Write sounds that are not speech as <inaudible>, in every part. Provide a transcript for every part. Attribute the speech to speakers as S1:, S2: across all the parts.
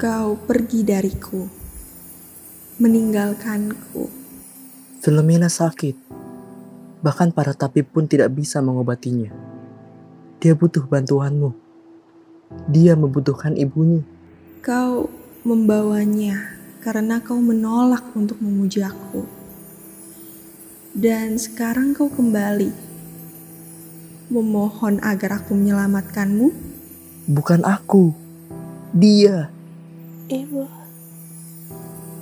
S1: kau pergi dariku, meninggalkanku.
S2: Filomena sakit. Bahkan para tabib pun tidak bisa mengobatinya. Dia butuh bantuanmu. Dia membutuhkan ibunya.
S1: Kau membawanya karena kau menolak untuk memuji aku. Dan sekarang kau kembali memohon agar aku menyelamatkanmu.
S2: Bukan aku. Dia.
S3: Ibu,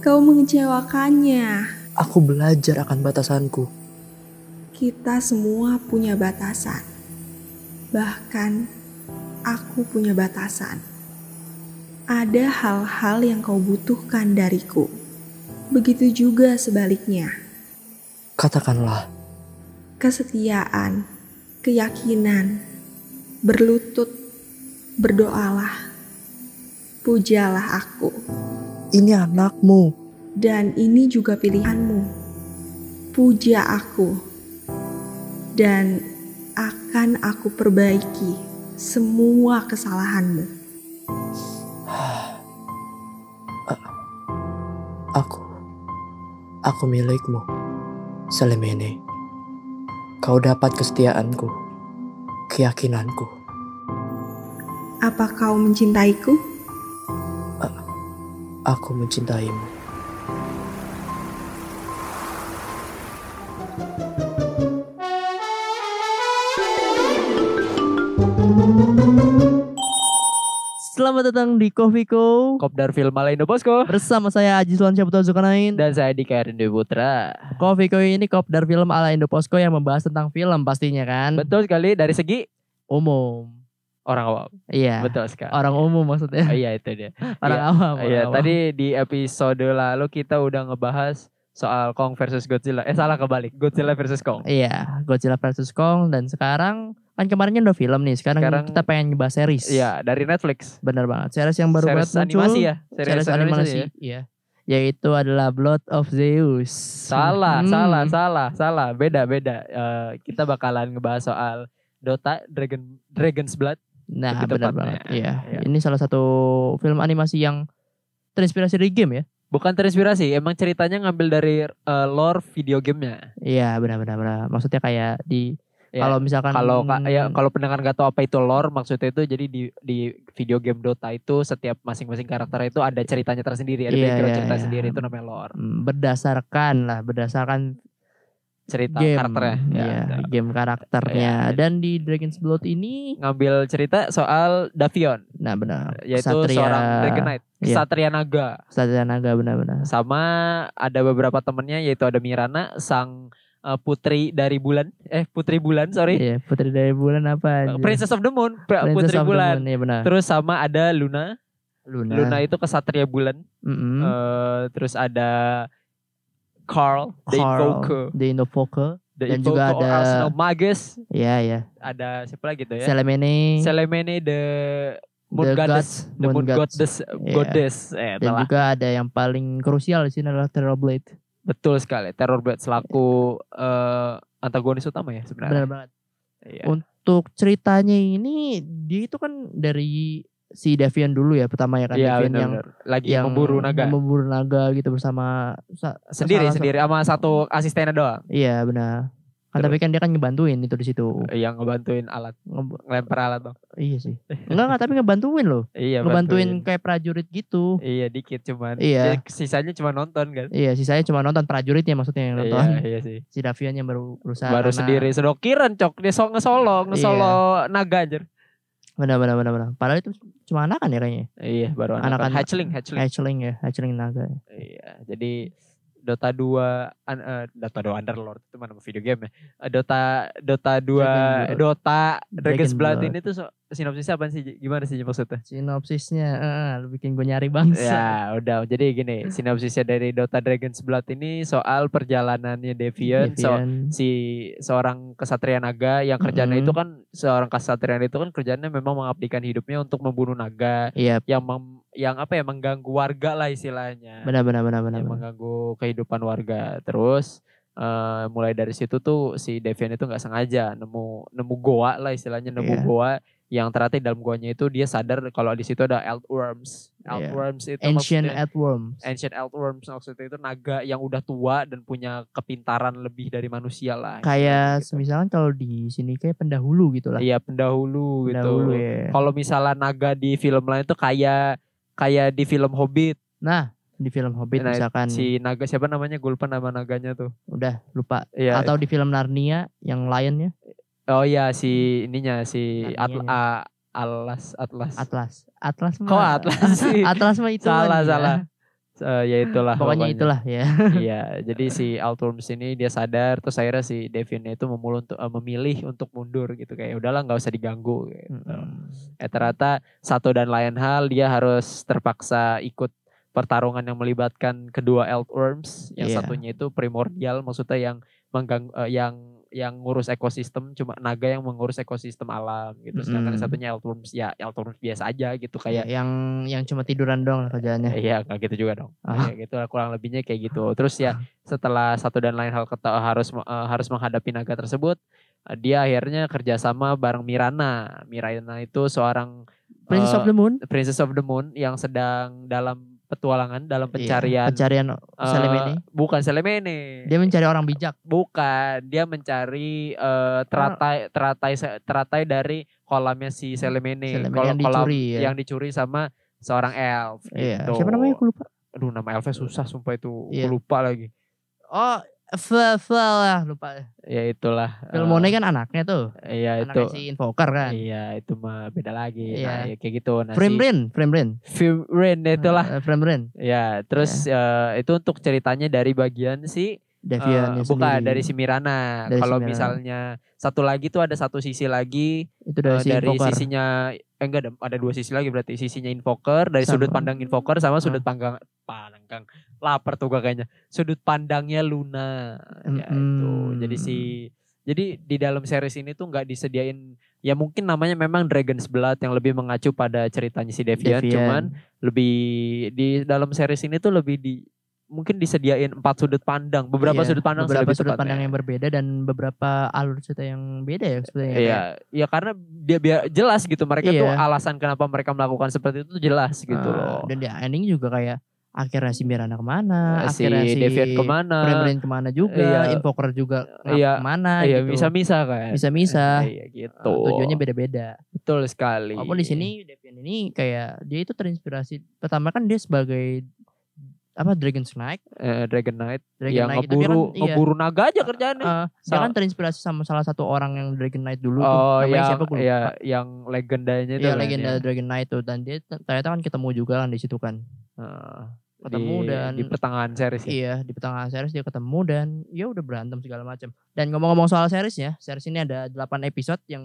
S1: Kau mengecewakannya.
S2: Aku belajar akan batasanku.
S1: Kita semua punya batasan. Bahkan aku punya batasan. Ada hal-hal yang kau butuhkan dariku. Begitu juga sebaliknya.
S2: Katakanlah,
S1: kesetiaan, keyakinan, berlutut, berdoalah, pujalah aku,
S2: ini anakmu.
S1: dan ini juga pilihanmu. Puja aku, dan akan aku perbaiki semua kesalahanmu.
S2: Aku. Aku milikmu. Selemene. Kau dapat kesetiaanku. Keyakinanku.
S1: Apa kau mencintaiku?
S2: Aku mencintaimu.
S4: Selamat datang di Coffee Co
S5: Kopdar Film Malaindo Bosco
S4: Bersama saya Aji Sulan Syabto Zulkarnain
S5: dan saya Dika Rindu Putra.
S4: Coffee Co ini kopdar film ala Indo Posko yang membahas tentang film pastinya kan
S5: Betul sekali dari segi
S4: Umum
S5: orang awam.
S4: Iya
S5: Betul sekali.
S4: Orang umum
S5: Oh,
S4: maksudnya
S5: iya itu dia.
S4: Orang awam
S5: Oh, Iya,
S4: ya. orang awam.
S5: tadi di episode lalu kita udah ngebahas soal Kong versus Godzilla. Eh salah kebalik, Godzilla versus Kong.
S4: Iya Godzilla vs Kong Dan sekarang Kan kemarinnya udah film nih Sekarang,
S5: Sekarang-
S4: kita pengen ngebahas series
S5: Iya, dari Netflix.
S4: Bener banget Series yang baru
S5: series
S4: banget muncul
S5: animasi ya,
S4: Series, animasi
S5: ya?
S4: Iya Yaitu adalah Blood of Zeus
S5: Salah,
S4: Hmm.
S5: salah, salah, salah. Beda, beda. Eh, kita bakalan ngebahas soal Dota Dragon Dragon's Blood.
S4: Nah
S5: Lebih
S4: bener
S5: tepatnya.
S4: banget Iya
S5: Iya.
S4: Ini salah satu film animasi yang Terinspirasi dari game ya
S5: Bukan terinspirasi, emang ceritanya ngambil dari eh, lore video gamenya.
S4: Iya benar-benar benar. Maksnya kayak di
S5: Iya.
S4: kalau misalkan mm,
S5: Kalau ka- ya
S4: Hmm.
S5: kalau pendengar nggak tahu apa itu lore maksudnya itu jadi di di video game Dota itu setiap masing-masing karakter itu ada ceritanya tersendiri, ada
S4: Iya,
S5: background
S4: iya,
S5: cerita
S4: iya.
S5: sendiri itu namanya lore.
S4: mm, berdasarkan lah berdasarkan
S5: Cerita
S4: game
S5: karakternya. Ya,
S4: Iya,
S5: betul.
S4: game karakternya
S5: Iya.
S4: dan di Dragon's Blood ini
S5: Ngambil cerita soal Davion
S4: nah benar
S5: yaitu
S4: Ksatria-
S5: seorang Dragon Knight,
S4: iya.
S5: Satria Naga.
S4: Ksatria naga benar-benar
S5: Sama ada beberapa temennya yaitu ada Mirana sang eh, putri dari bulan eh putri bulan sorry.
S4: Iya, putri dari bulan apa anjir?
S5: Princess of the Moon, pra-
S4: Princess
S5: putri
S4: of the
S5: bulan.
S4: Moon, iya benar
S5: Terus sama ada Luna.
S4: Luna,
S5: Luna itu kesatria bulan.
S4: Mm-mm.
S5: Eh, terus ada Carl, The
S4: Carl,
S5: Invoker,
S4: The Invoker
S5: The
S4: Dan juga
S5: Invoker
S4: ada-
S5: Arsenal Magus,
S4: iya ya
S5: ada siapa lagi
S4: Iya.
S5: tuh ya?
S4: Selemene
S5: Selemene the Moon
S4: The
S5: Goddess,
S4: Gods,
S5: The Moon
S4: Moon Gods.
S5: Goddess,
S4: Iya.
S5: Goddess, eh,
S4: dan
S5: telah.
S4: juga ada yang paling krusial di sini adalah Terrorblade
S5: betul sekali. Terror Blade selaku eh, antagonis utama ya
S4: benar
S5: sebenarnya.
S4: Oh, banget
S5: Iya.
S4: Un- untuk ceritanya ini dia itu kan dari si Davian dulu ya pertama ya kan
S5: Iya,
S4: Davian
S5: benar,
S4: yang
S5: benar. lagi memburu naga
S4: memburu naga gitu bersama sa-
S5: sendiri
S4: salah-
S5: sendiri sama satu asistennya doang
S4: iya benar kan tapi kan dia kan ngebantuin itu di situ
S5: yang ngebantuin alat
S4: Nge-
S5: ngelempar alat dong.
S4: iya
S5: <laughs>
S4: sih enggak enggak tapi ngebantuin loh
S5: Iya,
S4: ngebantuin kayak prajurit gitu
S5: Iya, dikit cuman.
S4: Iya.
S5: Dia- Sisanya cuma nonton kan.
S4: iya sih saya cuma nonton prajuritnya maksudnya yang
S5: Iya,
S4: nonton
S5: iya sih.
S4: si Davian yang baru berusaha
S5: baru
S4: karena-
S5: sendiri sedokiran cok dia so ngesolo ngesolo naga anjir
S4: benar benar benar benar padahal itu cuma anakan ya kayaknya
S5: iya baru
S4: Anak-anak.
S5: hatchling hatchling
S4: hatchling ya hatchling naga ya.
S5: iya jadi Dota 2 an, eh, Dota 2 Underlord itu mana video game ya Eh, Dota Dota 2
S4: Dragon Blood.
S5: Dota Dragon's
S4: Dragon
S5: Blood
S4: Blood.
S5: ini tuh so, sinopsisnya apa sih Ji? gimana sih Ji maksudnya
S4: sinopsisnya eh, lu bikin gue nyari bangsa
S5: ya udah jadi gini sinopsisnya dari Dota Dragon's Blood ini soal perjalanannya
S4: Gitu
S5: Deviant, Ya, so,
S4: Davian.
S5: si seorang kesatria naga yang kerjanya
S4: Mm-mm.
S5: itu kan seorang kesatria itu kan kerjanya memang mengabdikan hidupnya untuk membunuh naga
S4: iya
S5: yang mem- yang apa ya mengganggu warga lah istilahnya
S4: benar benar benar benar
S5: yang
S4: benar.
S5: mengganggu kehidupan warga terus eh, mulai dari situ tuh si Devian itu nggak sengaja nemu nemu goa lah istilahnya nemu
S4: Iya.
S5: goa yang ternyata di dalam guanya itu dia sadar kalau di situ ada earthworms.
S4: Iya.
S5: Earthworms itu
S4: Ancient
S5: maksudnya- kan?
S4: Earthworms.
S5: ancient earthworms maksudnya itu naga yang udah tua dan punya kepintaran lebih dari manusia lah.
S4: Kayak
S5: Gitu.
S4: semisalnya kalau di sini kayak pendahulu gitu lah.
S5: Iya pendahulu,
S4: pendahulu
S5: gitu.
S4: ya.
S5: Kalau misalnya naga di film lain tuh kayak kayak di film Hobbit
S4: Nah, di film Hobbit
S5: Nah,
S4: misalkan
S5: si naga siapa namanya gue lupa nama naganya tuh.
S4: udah lupa
S5: Iya.
S4: atau di film Narnia yang ya? lionnya
S5: Oh iya si ininya si
S4: Naganya.
S5: Atla- a- Atlas Atlas.
S4: Atlas. Atlas mah.
S5: Kok Atlas sih?
S4: Atlas mah itu.
S5: Salah,
S4: kan, ya.
S5: salah. Eh, ya itulah
S4: Pokoknya itulah ya.
S5: iya jadi si Altworms ini dia sadar terus akhirnya si Devin itu memulun eh, memilih untuk mundur gitu kayak udahlah nggak usah diganggu gitu. eh ternyata satu dan lain hal dia harus terpaksa ikut pertarungan yang melibatkan kedua Altworms yang
S4: Iya.
S5: satunya itu primordial maksudnya yang menggang eh, yang yang ngurus ekosistem cuma naga yang mengurus ekosistem alam gitu sedangkan
S4: Mm-mm.
S5: satunya Altworms ya Altworms biasa aja gitu
S4: Kayak
S5: kayak
S4: yang yang cuma tiduran doang lah kerjaannya.
S5: Iya, nggak gitu juga dong.
S4: Ya. Ah.
S5: Kayak gitu lah, kurang lebihnya kayak gitu. Terus ya setelah satu dan lain hal keta- harus me- eh, harus menghadapi naga tersebut, eh, dia akhirnya kerjasama bareng Mirana. Mirana itu seorang
S4: Princess of the Moon.
S5: eh, Princess of the Moon yang sedang dalam petualangan
S4: Iya,
S5: dalam pencarian.
S4: pencarian
S5: eh,
S4: Selemene.
S5: bukan Selemene.
S4: Dia mencari orang bijak.
S5: bukan, dia mencari eh,
S4: Ah.
S5: teratai teratai teratai dari kolamnya si Selemene.
S4: Selemene
S5: Kalau
S4: yang
S5: kolam
S4: dicuri ya.
S5: yang dicuri sama seorang elf.
S4: Iya.
S5: gitu.
S4: Siapa namanya? Aku lupa.
S5: aduh nama elfnya susah sumpah itu
S4: Iya.
S5: Aku lupa lagi
S4: Oh, Fel, Fel lah, lupa.
S5: ya itulah
S4: Filmone kan anaknya tuh.
S5: eh, iya itu
S4: Anaknya si Invoker kan.
S5: iya itu mah beda lagi
S4: Iya.
S5: nah ya kayak gitu nah
S4: Frame
S5: si
S4: Rain, Frame Rain.
S5: Fimrin
S4: Eh,
S5: itulah
S4: Frame Rain.
S5: ya terus
S4: Iya.
S5: eh, itu untuk ceritanya dari bagian si
S4: Devian
S5: eh,
S4: yang
S5: bukan
S4: sendiri.
S5: dari si Mirana
S4: Dari si
S5: kalau
S4: Mirana.
S5: misalnya satu lagi tuh ada satu sisi lagi
S4: itu
S5: eh,
S4: dari, si
S5: dari,
S4: Invoker.
S5: sisinya eh, enggak ada ada dua sisi lagi berarti sisinya invoker dari
S4: Sama. Hmm.
S5: sudut pandang invoker sama sudut pandang pandang lapar tuh gua kayaknya sudut pandangnya Luna ya itu
S4: Mm-mm.
S5: jadi si jadi di dalam series ini tuh nggak disediain ya mungkin namanya memang Dragon's Blood yang lebih mengacu pada ceritanya si Devian, cuman lebih di dalam series ini tuh lebih di mungkin disediain empat sudut pandang beberapa
S4: Iya,
S5: sudut pandang sih
S4: beberapa
S5: lebih
S4: sudut
S5: tepatnya.
S4: pandang yang berbeda dan beberapa alur cerita yang beda ya sebenarnya
S5: Iya, ya karena dia biar jelas gitu mereka tuh
S4: Iya.
S5: alasan kenapa mereka melakukan seperti itu jelas gitu
S4: gitu
S5: loh. Eh,
S4: dan di ending juga kayak akhirnya si Mirana kemana
S5: si
S4: akhirnya si
S5: Devian kemana?
S4: Brand kemana juga
S5: Iya.
S4: Invoker juga ngap-
S5: Iya,
S4: kemana
S5: iya
S4: gitu
S5: bisa misa kan.
S4: bisa misah
S5: Iya gitu.
S4: Nah,
S5: Iya.
S4: tujuannya beda-beda
S5: betul sekali.
S4: walaupun di sini Devian ini kayak dia itu terinspirasi pertama kan dia sebagai apa Dragon Knight
S5: eh, Dragon Knight
S4: Dragon
S5: yang
S4: Knight itu dia kan,
S5: ngeburu
S4: iya,
S5: ngeburu naga aja kerjaannya.
S4: eh, dia kan terinspirasi sama salah satu orang yang Dragon Knight dulu tuh. ah,
S5: oh
S4: namanya
S5: yang
S4: siapa gue lupa.
S5: ya yang legendanya itu
S4: Iya
S5: kan,
S4: legenda
S5: ya.
S4: Dragon Knight tuh dan dia t- ternyata kan ketemu juga kan di situ kan.
S5: Heeh.
S4: Ketemu
S5: Ah, di,
S4: dan
S5: di pertengahan series ya.
S4: iya di pertengahan series dia ketemu dan ya udah berantem segala macam. Dan ngomong-ngomong soal seriesnya, series ini ada 8 episode yang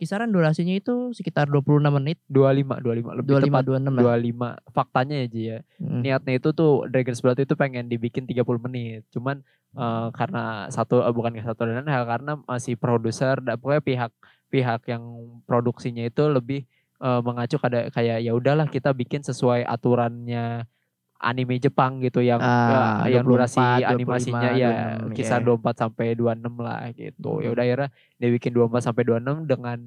S4: berkisaran durasinya itu sekitar 26 menit,
S5: 25 25 lebih
S4: 25
S5: tepat
S4: 26 lah.
S5: 25 faktanya ya Ji ya.
S4: Hmm.
S5: niatnya itu tuh Dragon's Blood itu pengen dibikin 30 menit. Cuman eh, karena satu eh, bukan satu dan lain hal karena masih produser dan pokoknya pihak pihak yang produksinya itu lebih eh, mengacu pada kayak ya udahlah kita bikin sesuai aturannya anime Jepang gitu yang
S4: Ah,
S5: eh, yang durasi
S4: 24,
S5: animasinya
S4: 25,
S5: ya
S4: 26,
S5: kisar
S4: ya.
S5: 24 sampai 26 lah gitu.
S4: Hmm.
S5: Ya udah akhirnya dia bikin 24 sampai 26 dengan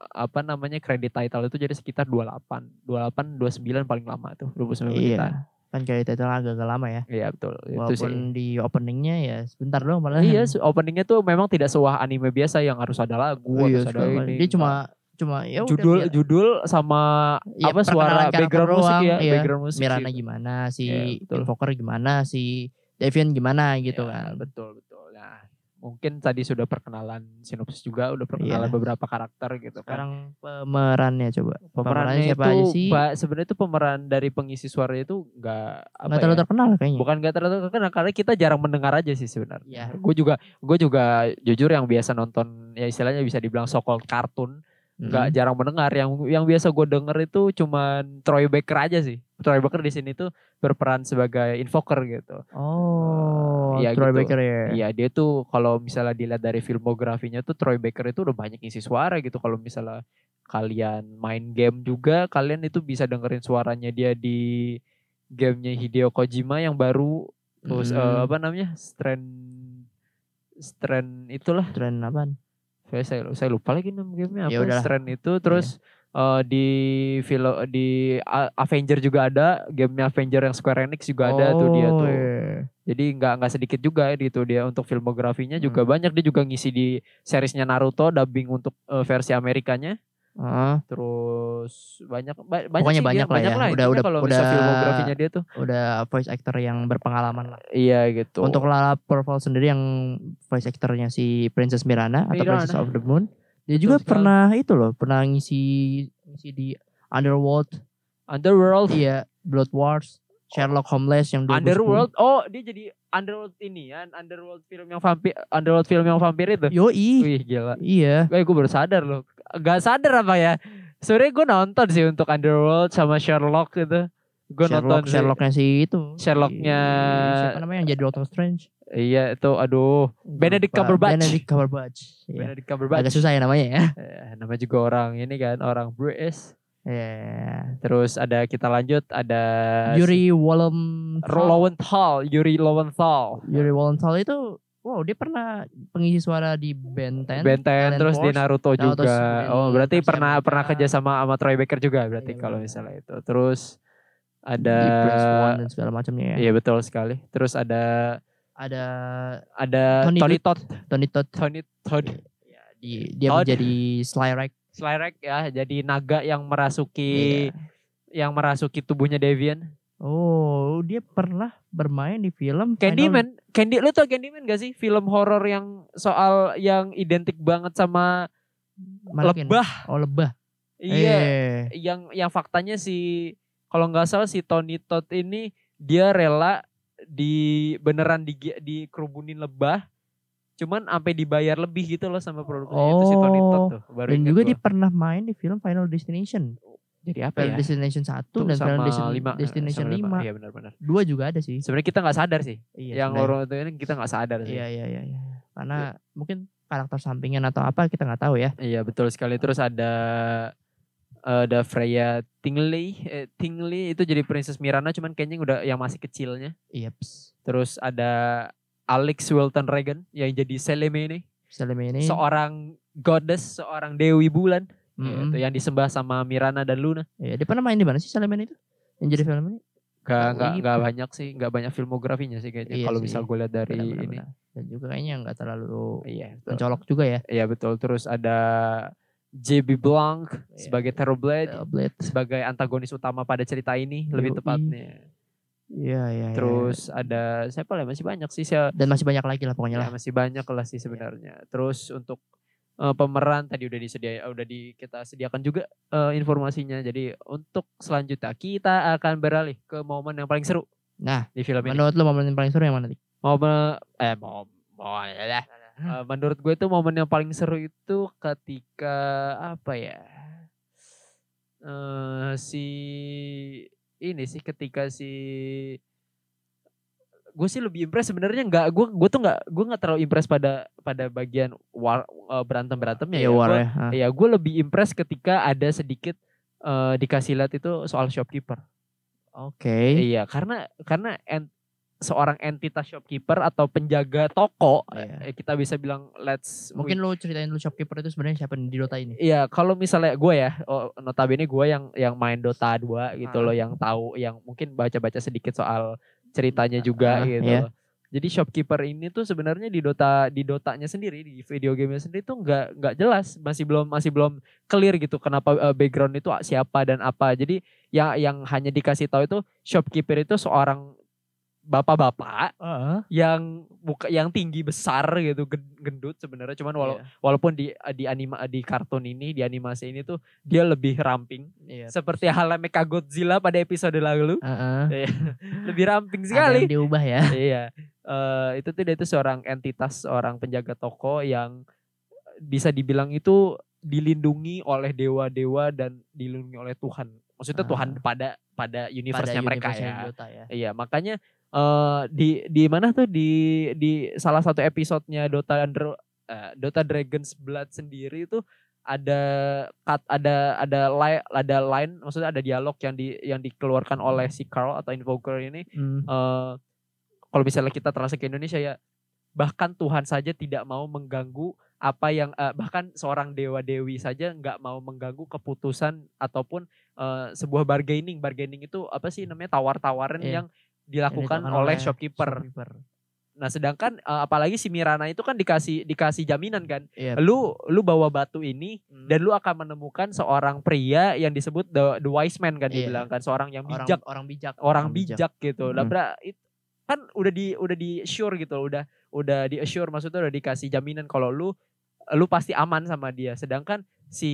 S5: apa namanya kredit title itu jadi sekitar 28, 28 29 paling lama tuh 29 menitan.
S4: Iya. Kan kayak itu agak-agak lama ya.
S5: Iya betul itu sih.
S4: Walaupun di openingnya ya sebentar doang malah. <laughs>
S5: Iya se- openingnya tuh memang tidak sewah anime biasa yang harus ada lagu
S4: Oh
S5: harus ada
S4: iya,
S5: ini.
S4: Dia cuma cuma ya udah
S5: judul
S4: biar-
S5: judul sama
S4: Ya,
S5: apa suara
S4: perkenalan karakter
S5: background musik
S4: doang,
S5: ya
S4: iya.
S5: background musik.
S4: Mirana
S5: gitu.
S4: gimana, si
S5: Iya, betul.
S4: Invoker gimana, si Devian gimana gitu
S5: Iya,
S4: kan.
S5: Betul betul. Nah mungkin tadi sudah perkenalan sinopsis juga udah perkenalan
S4: Iya.
S5: beberapa karakter gitu kan.
S4: Sekarang pemerannya coba.
S5: Pemerannya
S4: siapa aja
S5: itu
S4: sih?
S5: ba- sebenarnya itu pemeran dari pengisi suaranya itu nggak apa
S4: Gak terlalu
S5: ya?
S4: terkenal kayaknya.
S5: Bukan gak terlalu terkenal karena kita jarang mendengar aja sih sebenarnya.
S4: Hmm. Iya.
S5: Gue juga gue juga jujur yang biasa nonton ya istilahnya bisa dibilang sokol kartun
S4: Mm.
S5: nggak jarang mendengar yang yang biasa gue denger itu cuman Troy Baker aja sih Troy Baker di sini tuh berperan sebagai invoker gitu
S4: Oh,
S5: Iya,
S4: Troy
S5: gitu.
S4: Baker ya.
S5: Iya dia tuh kalau misalnya dilihat dari filmografinya tuh Troy Baker itu udah banyak isi suara gitu kalau misalnya kalian main game juga kalian itu bisa dengerin suaranya dia di gamenya Hideo Kojima yang baru terus eh,
S4: Hmm.
S5: apa namanya Strand Strand itulah
S4: Tren apaan?
S5: saya saya, saya lupa lagi nama gamenya apa
S4: Ya udahlah.
S5: Strand itu terus eh, di film di A- Avenger juga ada gamenya Avenger yang Square Enix juga ada tuh dia
S4: Oh,
S5: tuh
S4: iya.
S5: jadi nggak nggak sedikit juga gitu dia untuk filmografinya juga
S4: Hmm.
S5: banyak dia juga ngisi di seriesnya Naruto dubbing untuk eh, versi Amerikanya
S4: Ah,
S5: terus banyak ba- banyak
S4: Pokoknya
S5: sih
S4: banyak
S5: dia,
S4: lah ya. Udah-
S5: intinya
S4: udah-
S5: kalau bisa
S4: udah-
S5: filmografinya dia tuh
S4: udah voice actor yang berpengalaman lah.
S5: iya gitu
S4: Untuk Lala Purple sendiri yang voice actornya si Princess Mirana, atau
S5: Mirana.
S4: Princess of the Moon, dia
S5: Betul
S4: juga
S5: sekali.
S4: pernah itu loh, pernah ngisi ngisi di Underworld,
S5: Underworld
S4: iya Blood Wars, Sherlock Homeless yang 2010.
S5: Underworld oh dia jadi Underworld ini ya Underworld film yang vampir Underworld film yang vampir itu
S4: Yoi.
S5: wih gila
S4: Iya.
S5: gue gue baru sadar loh gak sadar apa ya sebenarnya gue nonton sih untuk Underworld sama Sherlock gitu gue nonton
S4: Sherlock,
S5: sih.
S4: Sherlocknya si itu.
S5: Sherlocknya-
S4: Si- siapa namanya yang jadi Doctor Strange?
S5: iya itu aduh Benedict
S4: Lupa.
S5: Cumberbatch.
S4: Benedict Cumberbatch. Iya.
S5: Benedict Cumberbatch
S4: Agak susah ya namanya ya.
S5: Eh, namanya juga orang ini kan orang British
S4: Iya.
S5: terus ada kita lanjut ada
S4: Yuri Wallum
S5: Lowenthal Yuri Lowenthal
S4: Yuri Wallenthal itu wow dia pernah pengisi suara di Ben 10
S5: Benten
S4: Alien
S5: terus di
S4: Force,
S5: Naruto
S4: Naruto
S5: juga.
S4: Shippuden,
S5: oh, berarti
S4: Captain
S5: pernah
S4: America.
S5: pernah kerja sama sama Troy Baker juga berarti
S4: Iya,
S5: kalau
S4: benar.
S5: misalnya itu. Terus
S4: di
S5: ada
S4: Prince One dan segala macamnya ya.
S5: Iya betul sekali. Terus ada
S4: Ada
S5: ada
S4: Tony
S5: Tony,
S4: Good.
S5: Todd,
S4: Tony Todd
S5: Tony Todd
S4: ya, di, dia
S5: Todd.
S4: menjadi Slyrek.
S5: Slyrek ya, jadi naga yang merasuki
S4: Iya.
S5: yang merasuki tubuhnya Devian.
S4: Oh, dia pernah bermain di film Final-
S5: Candyman, Candy lu tau Candyman gak sih? Film horor yang soal yang identik banget sama
S4: Mannequin.
S5: lebah.
S4: Oh, lebah.
S5: Iya.
S4: Eh,
S5: yang yang faktanya si kalau nggak salah si Tony Todd ini dia rela di beneran di dikerubunin lebah cuman sampai dibayar lebih gitu loh sama produknya itu si Tony Todd
S4: Oh,
S5: tuh baru
S4: Dan
S5: ingat
S4: juga
S5: gua.
S4: dia pernah main di film Final Destination.
S5: jadi apa
S4: Final
S5: ya
S4: Destination 1
S5: Tuh,
S4: dan Final
S5: sama
S4: Desti-
S5: lima, eh,
S4: Destination
S5: sama
S4: 5.
S5: iya benar-benar
S4: Dua juga ada sih.
S5: sebenarnya kita nggak sadar sih
S4: Iya,
S5: yang
S4: sebenarnya.
S5: orang itu ini kita nggak sadar sih
S4: Iya iya iya. iya. Karena mungkin karakter sampingan atau apa kita nggak tahu ya.
S5: Iya betul sekali. Terus ada eh, ada Freya Tingley, eh, Tingley itu jadi Princess Mirana cuman kayaknya udah yang masih kecilnya.
S4: Iya.
S5: Terus ada Alex Wilton Regan yang jadi Selene
S4: Selama ini.
S5: seorang goddess, seorang dewi bulan
S4: Mm-mm.
S5: yaitu yang disembah sama Mirana dan Luna.
S4: Iya, dia pernah main di mana sih Salaman itu? Yang jadi film ini? Tahu
S5: Gak, gak,
S4: itu.
S5: gak banyak sih, gak banyak filmografinya sih kayaknya.
S4: Oh, gitu. Iya
S5: Kalau
S4: sih.
S5: misal gue lihat dari
S4: Benar, benar,
S5: ini.
S4: benar. Iya, Dan juga kayaknya nggak terlalu
S5: Iya, betul.
S4: mencolok juga ya.
S5: Iya betul. Terus ada JB Blanc
S4: Iya.
S5: sebagai Terrorblade,
S4: Eh, Blade.
S5: sebagai antagonis utama pada cerita ini lebih
S4: Yoi.
S5: tepatnya.
S4: Iya, iya, iya.
S5: Terus ada siapa lah masih banyak sih saya
S4: dan masih banyak lagi lah pokoknya lah.
S5: ya, masih banyak lah sih
S4: Iya.
S5: sebenarnya. Terus untuk eh, pemeran tadi udah disediakan udah di kita sediakan juga eh, informasinya. Jadi untuk selanjutnya kita akan beralih ke momen yang paling seru
S4: Nah,
S5: di film ini.
S4: menurut lo momen yang paling seru yang mana nih?
S5: Momen eh mau mau eh,
S4: Hmm.
S5: menurut gue itu momen yang paling seru itu ketika apa ya? eh si ini sih ketika si gue sih lebih impress sebenarnya nggak gue gue tuh nggak gue nggak terlalu impress pada pada bagian war berantem berantemnya
S4: Iya,
S5: ya,
S4: war
S5: Gua-
S4: ya. Ah.
S5: ya gue lebih impress ketika ada sedikit eh, dikasih lihat itu soal shopkeeper
S4: Oke.
S5: iya karena karena en- seorang entitas shopkeeper atau penjaga toko
S4: Iya.
S5: eh, kita bisa bilang let's
S4: Mungkin lo ceritain dulu shopkeeper itu sebenarnya siapa di Dota ini?
S5: Iya, kalau misalnya gue ya, oh, notabene gue yang yang main Dota 2 gitu
S4: Ah.
S5: loh, yang tahu, yang mungkin baca-baca sedikit soal ceritanya
S4: Ah,
S5: juga gitu.
S4: iya.
S5: loh. Jadi shopkeeper ini tuh sebenarnya di Dota di Dotanya sendiri di video gamenya sendiri tuh nggak nggak jelas masih belum masih belum clear gitu kenapa eh, background itu siapa dan apa jadi yang yang hanya dikasih tahu itu shopkeeper itu seorang bapak-bapak yang buka yang tinggi besar gitu gen- gendut sebenarnya cuman walau
S4: Iya.
S5: walaupun di di anima di kartun ini di animasi ini tuh dia lebih ramping
S4: Iya.
S5: seperti halnya Mecha Godzilla pada episode lalu
S4: Heeh.
S5: lebih ramping
S4: Ada
S5: sekali
S4: <laughs> yang diubah ya.
S5: iya Eh, itu tuh dia itu seorang entitas seorang penjaga toko yang bisa dibilang itu dilindungi oleh dewa-dewa dan dilindungi oleh Tuhan maksudnya
S4: Ah.
S5: Tuhan pada pada universe-nya mereka
S4: universe-nya
S5: ya
S4: Dota ya.
S5: Iya, makanya eh di di mana tuh di di salah satu episodenya Dota Under eh, Dota Dragon's Blood sendiri itu ada cut ada ada line ada line maksudnya ada dialog yang di yang dikeluarkan oleh si Carl atau Invoker ini
S4: Hmm.
S5: eh kalau misalnya kita translate ke Indonesia ya bahkan Tuhan saja tidak mau mengganggu apa yang eh, bahkan seorang dewa dewi saja nggak mau mengganggu keputusan ataupun eh, sebuah bargaining bargaining itu apa sih namanya tawar-tawaran
S4: Iya.
S5: yang dilakukan
S4: dilakukan oleh
S5: oleh shopkeeper.
S4: Shopkeeper.
S5: Nah, sedangkan eh, apalagi si Mirana itu kan dikasih dikasih jaminan kan.
S4: Iya.
S5: Lu lu bawa batu ini
S4: Hmm.
S5: dan lu akan menemukan seorang pria yang disebut the, the wise man kan
S4: Iya.
S5: dibilang kan, seorang yang
S4: orang
S5: bijak,
S4: orang bijak
S5: orang, bijak. gitu. Lah,
S4: Mm.
S5: bra, it- kan udah di udah di sure gitu, udah udah di assure maksudnya udah dikasih jaminan kalau lu lu pasti aman sama dia. Sedangkan si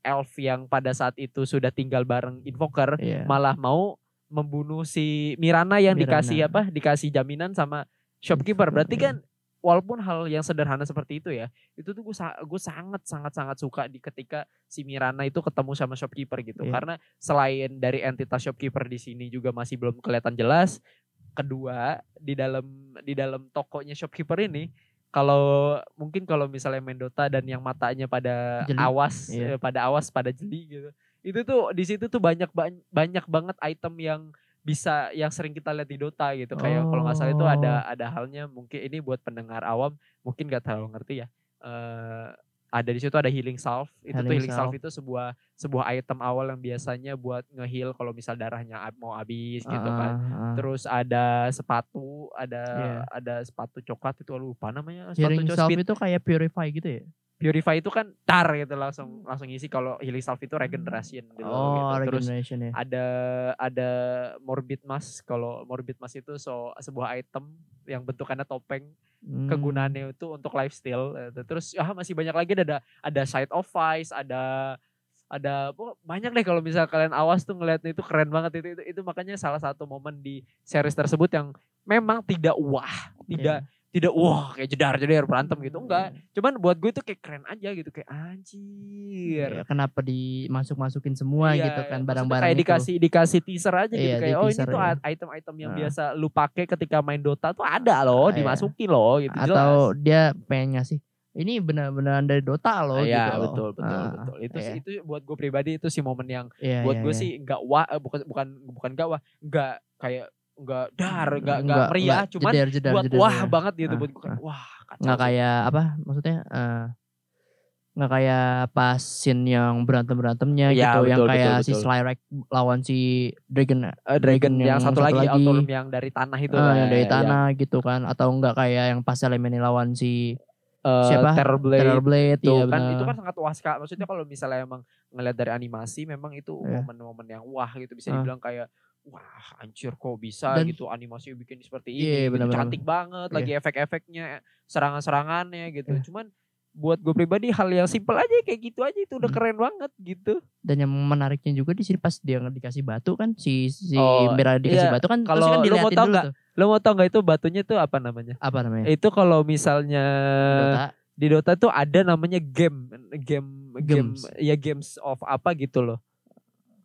S5: elf yang pada saat itu sudah tinggal bareng invoker
S4: Iya.
S5: malah mau membunuh si Mirana yang
S4: Mirana.
S5: dikasih apa dikasih jaminan sama shopkeeper berarti
S4: Iya.
S5: kan walaupun hal yang sederhana seperti itu ya itu tuh gue sangat sangat sangat suka di ketika si Mirana itu ketemu sama shopkeeper gitu
S4: Iya.
S5: karena selain dari entitas shopkeeper di sini juga masih belum kelihatan jelas kedua di dalam di dalam tokonya shopkeeper ini kalau mungkin kalau misalnya Mendota dan yang matanya pada
S4: Jeli.
S5: awas
S4: Iya.
S5: eh, pada awas pada jeli gitu itu tuh di situ tuh banyak ban- banyak banget item yang bisa yang sering kita lihat di Dota gitu kayak kalau nggak salah itu ada
S4: Oh.
S5: ada halnya mungkin ini buat pendengar awam mungkin nggak terlalu ngerti ya Eh ada di situ ada healing salve itu tuh
S4: Healing
S5: healing salve itu sebuah sebuah item awal yang biasanya buat ngeheal kalau misal darahnya ab- mau habis gitu kan
S4: Ah, ah.
S5: terus ada sepatu ada
S4: Iya.
S5: ada sepatu coklat itu aduh, lupa namanya sepatu
S4: Hearing
S5: coklat,
S4: self
S5: speed
S4: itu kayak purify gitu ya?
S5: purify itu kan tar gitu langsung langsung isi kalau healing salve itu regeneration gitu,
S4: Hmm. oh,
S5: gitu. terus
S4: regeneration ya.
S5: ada ada morbid mask kalau morbid mask itu so sebuah item yang bentukannya topeng
S4: Hmm.
S5: kegunaannya itu untuk lifestyle eh, terus ah masih banyak lagi ada ada side of vice ada ada oh, banyak deh kalau misal kalian awas tuh ngeliatnya itu keren banget itu, itu itu makanya salah satu momen di series tersebut yang memang tidak wah
S4: Iya.
S5: tidak tidak wah kayak jedar jedar berantem gitu
S4: Hmm.
S5: enggak cuman buat gue itu kayak keren aja gitu kayak anjir
S4: Iya, kenapa dimasuk-masukin semua
S5: Iya,
S4: gitu kan
S5: maksudnya
S4: barang-barang
S5: kayak
S4: itu.
S5: dikasih dikasih teaser aja gitu
S4: Iya, di
S5: kayak oh ini
S4: teaser,
S5: tuh
S4: iya.
S5: a- item-item yang
S4: Nah.
S5: biasa lu pakai ketika main Dota tuh ada loh
S4: Iya.
S5: dimasukin loh gitu
S4: Atau
S5: jelas.
S4: dia pengen ngasih ini benar-benar dari Dota loh
S5: Iya,
S4: gitu. loh.
S5: betul betul
S4: Ah,
S5: betul itu
S4: iya.
S5: itu buat gue pribadi itu sih momen yang
S4: Iya,
S5: buat
S4: iya,
S5: gue
S4: iya.
S5: sih nggak wah eh, bukan bukan bukan gak wah nggak kayak nggak dar nggak nggak
S4: Hmm, Nggak-
S5: meriah
S4: nggak
S5: cuman
S4: jedar, jedar,
S5: buat
S4: jedar,
S5: wah
S4: jedar.
S5: banget gitu
S4: Ah,
S5: buat gue kayak, wah kacau
S4: nggak
S5: sih.
S4: kayak apa maksudnya eh, nggak kayak pas scene yang berantem berantemnya
S5: Iya,
S4: gitu yang
S5: betul,
S4: kayak
S5: betul,
S4: si
S5: betul.
S4: Slyrek lawan si Dragon
S5: Eh, Dragon
S4: hmm,
S5: yang, satu, lagi, Autolum yang dari tanah itu
S4: eh, yang dari
S5: ya.
S4: tanah gitu kan atau enggak kayak yang pas Elemen lawan si
S5: Eh,
S4: Siapa?
S5: Terror Blade
S4: Terror Blade
S5: itu
S4: iya
S5: kan
S4: benar.
S5: itu kan sangat wah sekali. Maksudnya kalau misalnya emang ngelihat dari animasi memang itu
S4: Iya.
S5: momen-momen yang wah gitu bisa
S4: Ah.
S5: dibilang kayak wah anjir kok bisa
S4: Dan-
S5: gitu animasi bikin seperti ini.
S4: Iya,
S5: gitu.
S4: benar-benar.
S5: Cantik banget
S4: Iya.
S5: lagi efek-efeknya, serangan-serangannya gitu.
S4: Iya.
S5: Cuman buat gue pribadi hal yang simpel aja kayak gitu aja itu udah
S4: Hmm.
S5: keren banget gitu.
S4: dan yang menariknya juga di sini pas dia dikasih batu kan si si
S5: Oh,
S4: Mira dikasih
S5: iya.
S4: batu kan terus
S5: Kalau
S4: kan
S5: lu mau
S4: diliatin
S5: tahu
S4: dulu
S5: nggak? Eh,
S4: tuh
S5: Lo mau tau nggak itu batunya itu apa namanya?
S4: apa namanya
S5: Itu kalau misalnya
S4: Iya. Dota
S5: di Dota tuh ada namanya game game game
S4: Games.
S5: ya games of apa gitu loh.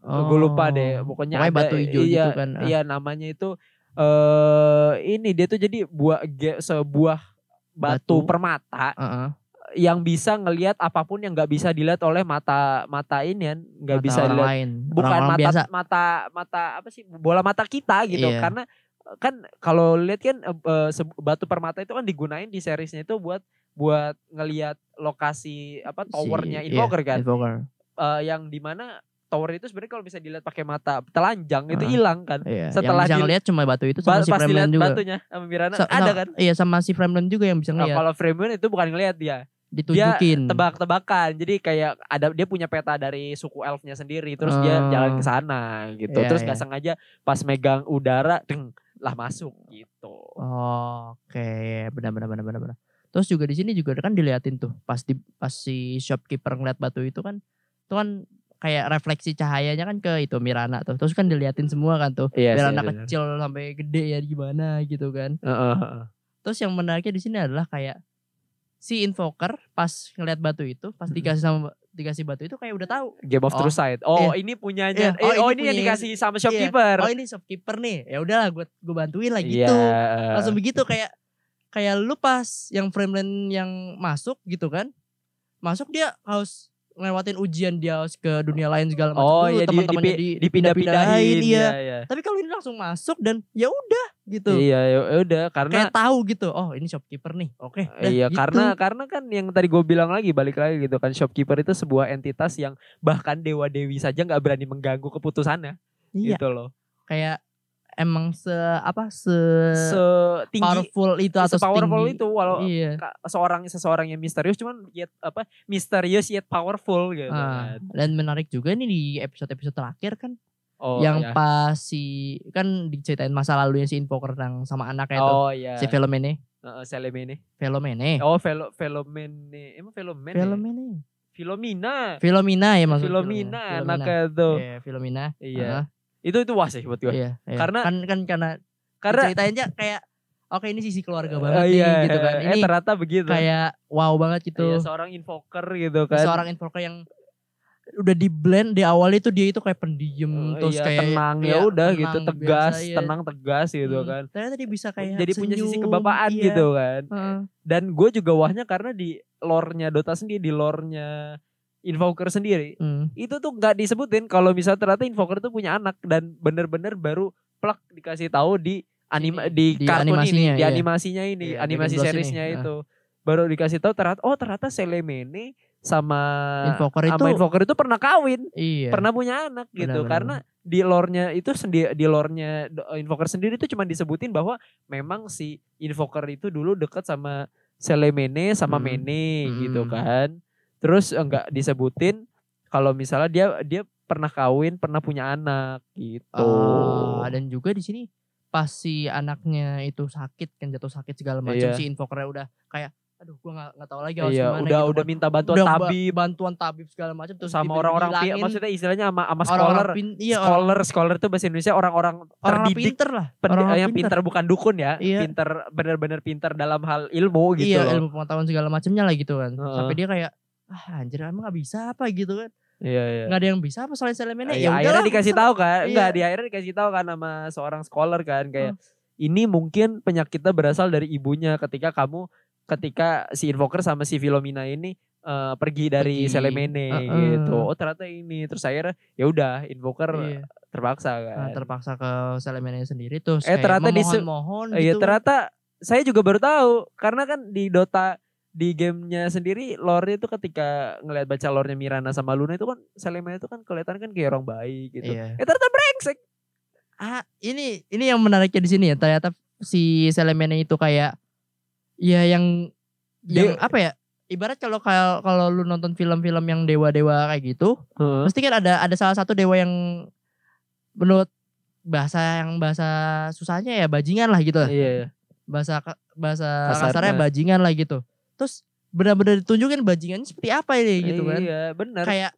S5: Gue eh, lupa deh,
S4: Oh. Pokoknya
S5: pokoknya ada,
S4: batu hijau
S5: iya,
S4: gitu kan ah.
S5: Iya namanya itu eh ini dia tuh jadi buah ge- sebuah batu,
S4: Batu.
S5: permata
S4: Heeh.
S5: yang bisa ngelihat apapun yang nggak bisa dilihat oleh mata mata ini kan nggak
S4: Mata
S5: bisa
S4: orang
S5: dilihat
S4: lain
S5: bukan
S4: Orang-orang
S5: mata
S4: biasa
S5: mata mata apa sih bola mata kita gitu
S4: Iya.
S5: karena eh, kan kalau lihat kan eh, eh, se- batu permata itu kan digunain di seriesnya itu buat buat ngelihat lokasi apa
S4: Si-
S5: towernya
S4: iya,
S5: invoker kan
S4: invoker.
S5: Eh, yang dimana tower itu sebenarnya kalau bisa dilihat pakai mata telanjang itu
S4: Ah.
S5: hilang kan
S4: Iya,
S5: Setelah
S4: yang bisa
S5: di-
S4: ngeliat cuma batu itu sama
S5: Ba-
S4: si
S5: pas
S4: Fremland
S5: dilihat
S4: juga.
S5: batunya sama Mirana
S4: Sa-
S5: ada
S4: sa-
S5: kan?
S4: Iya sama si Fremland juga yang bisa
S5: Nah,
S4: ngeliat
S5: kalau Fremland itu bukan ngelihat dia,
S4: ditunjukin.
S5: dia tebak-tebakan. Jadi kayak ada dia punya peta dari suku elfnya sendiri, terus dia
S4: Ah.
S5: jalan ke sana gitu.
S4: Iya,
S5: terus nggak
S4: iya.
S5: sengaja pas megang udara, deng lah masuk gitu.
S4: Oh, Oke, benar benar benar benar benar. Terus juga di sini juga kan diliatin tuh pas di pas si shopkeeper ngeliat batu itu kan itu kan kayak refleksi cahayanya kan ke itu Mirana tuh. Terus kan diliatin semua kan tuh.
S5: Iya,
S4: Mirana kecil sampai gede ya gimana gitu kan. Terus yang menariknya di sini adalah kayak si invoker pas ngeliat batu itu, pas
S5: Mm-mm.
S4: dikasih sama dikasih batu itu kayak udah tahu.
S5: Game of
S4: Oh.
S5: True Side. Oh, ini punyanya.
S4: Iya.
S5: Eh,
S4: Oh,
S5: Oh,
S4: ini
S5: ini, yang
S4: punya-
S5: dikasih sama shopkeeper.
S4: Oh ini shopkeeper nih. Ya udahlah gue gue bantuin lah gitu.
S5: Iya.
S4: langsung begitu kayak kayak lu pas yang Fremland yang masuk gitu kan masuk dia harus ngelewatin ujian dia harus ke dunia lain segala macam
S5: Oh,
S4: dulu,
S5: iya di,
S4: teman-temannya
S5: dipi- dipindah-pindahin.
S4: iya.
S5: iya.
S4: tapi kalau ini langsung masuk dan ya udah gitu.
S5: Iya, ya ya udah karena
S4: Kayak tahu gitu. Oh, ini shopkeeper nih. Oke. dah,
S5: Iya
S4: gitu.
S5: karena karena kan yang tadi gue bilang lagi balik lagi gitu kan shopkeeper itu sebuah entitas yang bahkan dewa dewi saja nggak berani mengganggu keputusannya
S4: iya.
S5: gitu loh
S4: kayak emang se apa se,
S5: setinggi
S4: powerful Eh, itu atau
S5: powerful
S4: setinggi-
S5: itu walau
S4: Iya.
S5: ka- seorang seseorang yang misterius cuman yet apa misterius yet powerful gitu
S4: Ah,
S5: kan.
S4: dan menarik juga nih di episode-episode terakhir kan
S5: oh
S4: yang
S5: ya.
S4: pas si kan diceritain masa lalunya si info kerenang sama anaknya itu
S5: oh ya
S4: si Eh. Velomene
S5: Heeh, Selene.
S4: Velomene
S5: oh velo Velomene emang Velomene ya?
S4: Velomene
S5: Filomina
S4: Filomina ya maksudnya
S5: Filomina anaknya itu
S4: Iya, Filomina
S5: iya
S4: Ah,
S5: itu itu wah sih buat gue
S4: iya, iya.
S5: Karena-
S4: kan kan karena
S5: karena
S4: ceritainnya kayak oke ini sisi keluarga
S5: Oh,
S4: banget
S5: iya,
S4: nih gitu kan
S5: eh,
S4: ini
S5: ternyata begitu
S4: kayak wow banget gitu
S5: Iya, seorang invoker gitu kan.
S4: seorang invoker yang udah di blend di awal itu dia itu kayak pendiam
S5: Oh,
S4: terus
S5: iya,
S4: kayak
S5: tenang ya
S4: iya,
S5: udah gitu
S4: tenang,
S5: tegas,
S4: biasa, iya.
S5: tenang tegas gitu
S4: Hmm,
S5: kan.
S4: ternyata dia bisa kayak
S5: Jadi punya sisi
S4: senyum,
S5: kebapaan
S4: iya.
S5: gitu kan.
S4: Heeh.
S5: Dan gue juga wahnya karena di lore-nya Dota sendiri, di lore-nya invoker sendiri
S4: Hmm.
S5: itu tuh nggak disebutin kalau misalnya ternyata invoker tuh punya anak dan bener-bener baru plak dikasih tahu di anima di,
S4: Di
S5: kartun
S4: animasinya,
S5: ini, di
S4: iya.
S5: animasinya ini,
S4: Iya,
S5: animasi
S4: Dragon Ball
S5: seriesnya
S4: ini, ah.
S5: itu. Baru dikasih tahu ternyata oh ternyata Selemene sama
S4: invoker itu
S5: eh, sama invoker itu pernah kawin.
S4: iya
S5: pernah punya anak gitu
S4: Benar, benar,
S5: karena di lore-nya itu sendi- di lore-nya do- invoker sendiri itu cuma disebutin bahwa memang si invoker itu dulu dekat sama Selemene sama
S4: Hmm.
S5: Mene gitu
S4: Hmm.
S5: kan. Terus enggak disebutin kalau misalnya dia dia pernah kawin, pernah punya anak gitu.
S4: Ah, dan juga di sini pas si anaknya itu sakit kan jatuh sakit segala macam
S5: Iya.
S4: si invokernya udah kayak aduh gua nggak nggak tahu lagi harus
S5: iya,
S4: gimana
S5: udah
S4: gitu
S5: udah
S4: kan.
S5: minta bantuan
S4: Udah ba-
S5: tabib
S4: bantuan tabib segala macam terus
S5: sama
S4: tiba-tiba
S5: orang-orang pi-
S4: dihilangin.
S5: maksudnya istilahnya sama sama scholar.
S4: orang-orang pin, iya, orang,
S5: scholar, scholar itu bahasa Indonesia orang-orang
S4: orang
S5: terdidik
S4: pinter lah
S5: Pen-
S4: Orang-orang
S5: yang pintar bukan dukun ya,
S4: Iya.
S5: pintar benar-benar pintar dalam hal ilmu gitu
S4: iya
S5: loh.
S4: ilmu pengetahuan segala macamnya lah gitu kan
S5: Heeh.
S4: sampai dia kayak ah anjir emang nggak bisa apa gitu kan
S5: Iya, iya.
S4: nggak ada yang bisa apa selain selemennya
S5: Iya,
S4: ya
S5: akhirnya
S4: udahlah,
S5: dikasih tahu kan,
S4: Iya. Hmm.
S5: enggak di akhirnya dikasih tahu kan sama seorang scholar kan kayak ini mungkin penyakitnya berasal dari ibunya ketika kamu ketika si invoker sama si Filomina ini eh, pergi dari
S4: Pergi.
S5: Selemene
S4: Heeh.
S5: gitu. Oh ternyata ini terus akhirnya ya udah invoker
S4: Iya.
S5: terpaksa
S4: Nah,
S5: kan.
S4: terpaksa ke selemennya sendiri terus
S5: Eh,
S4: kayak
S5: ternyata disu-
S4: memohon-mohon gitu
S5: Iya ternyata saya juga baru tahu karena kan di Dota di gamenya sendiri lore itu ketika ngelihat baca lore-nya Mirana sama Luna itu kan Selena itu kan kelihatan kan kayak orang baik gitu.
S4: Iya.
S5: Eh ternyata brengsek.
S4: ah ini ini yang menariknya di sini ya ternyata si Selemene itu kayak ya yang yang
S5: Dia-
S4: apa ya ibarat kalau kalau kalau lu nonton film-film yang dewa-dewa kayak gitu pasti kan ada ada salah satu dewa yang menurut bahasa yang bahasa susahnya ya bajingan lah gitu lah.
S5: Iya. iya.
S4: bahasa ka- bahasa
S5: Kasarnya.
S4: kasarnya bajingan lah gitu terus benar-benar ditunjukin bajingannya seperti apa ini gitu kan
S5: Iya, benar.
S4: kayak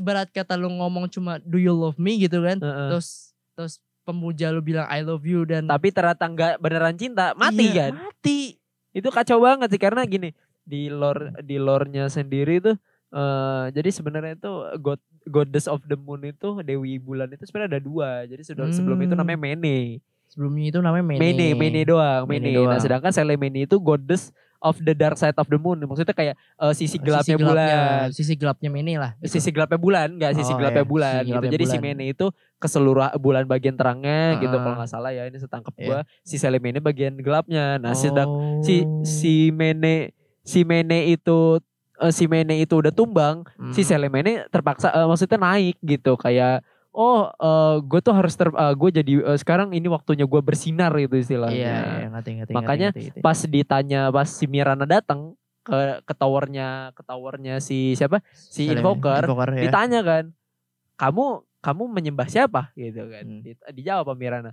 S4: ibarat kata lu ngomong cuma do you love me gitu kan
S5: Heeh.
S4: terus terus pemuja lu bilang I love you dan
S5: Tapi ternyata nggak beneran cinta, mati
S4: Iya,
S5: kan.
S4: mati
S5: Itu kacau banget sih karena gini, di lore di lore-nya sendiri tuh eh jadi sebenarnya itu god goddess of the moon itu dewi bulan itu sebenarnya ada dua. Jadi sudah sebelum itu
S4: Hmm.
S5: namanya Mene.
S4: sebelumnya itu namanya Mene
S5: Mene, Mene doang, Mene.
S4: Mene
S5: Nah,
S4: doang.
S5: sedangkan Selemene itu goddess of the dark side of the moon. Maksudnya kayak eh, sisi gelapnya bulan.
S4: sisi gelapnya Mene lah gitu.
S5: Sisi gelapnya bulan, enggak sisi
S4: Oh,
S5: gelapnya
S4: iya,
S5: bulan
S4: sisi
S5: gitu.
S4: gelapnya
S5: Jadi si
S4: bulan.
S5: Mene itu keseluruhan bulan bagian terangnya gitu
S4: Ah.
S5: kalau nggak salah ya. Ini setangkap
S4: Iya.
S5: gua. Si Selemene bagian gelapnya. Nah,
S4: Oh.
S5: sedang si si Mene si Mene itu eh, si Mene itu udah tumbang,
S4: Hmm.
S5: si Selemene terpaksa eh, maksudnya naik gitu kayak Oh, gue tuh harus ter, gue jadi eh, sekarang ini waktunya gua bersinar gitu
S4: iya
S5: istilahnya
S4: iya ngerti ngerti
S5: Makanya
S4: ngerti, ngerti, ngerti.
S5: pas ditanya pas si Mirana datang ke ke towernya ke towernya si siapa si
S4: Selemene,
S5: invoker,
S4: ya.
S5: ditanya kan kamu kamu menyembah siapa gitu kan
S4: Hmm.
S5: Di- dijawab sama Mirana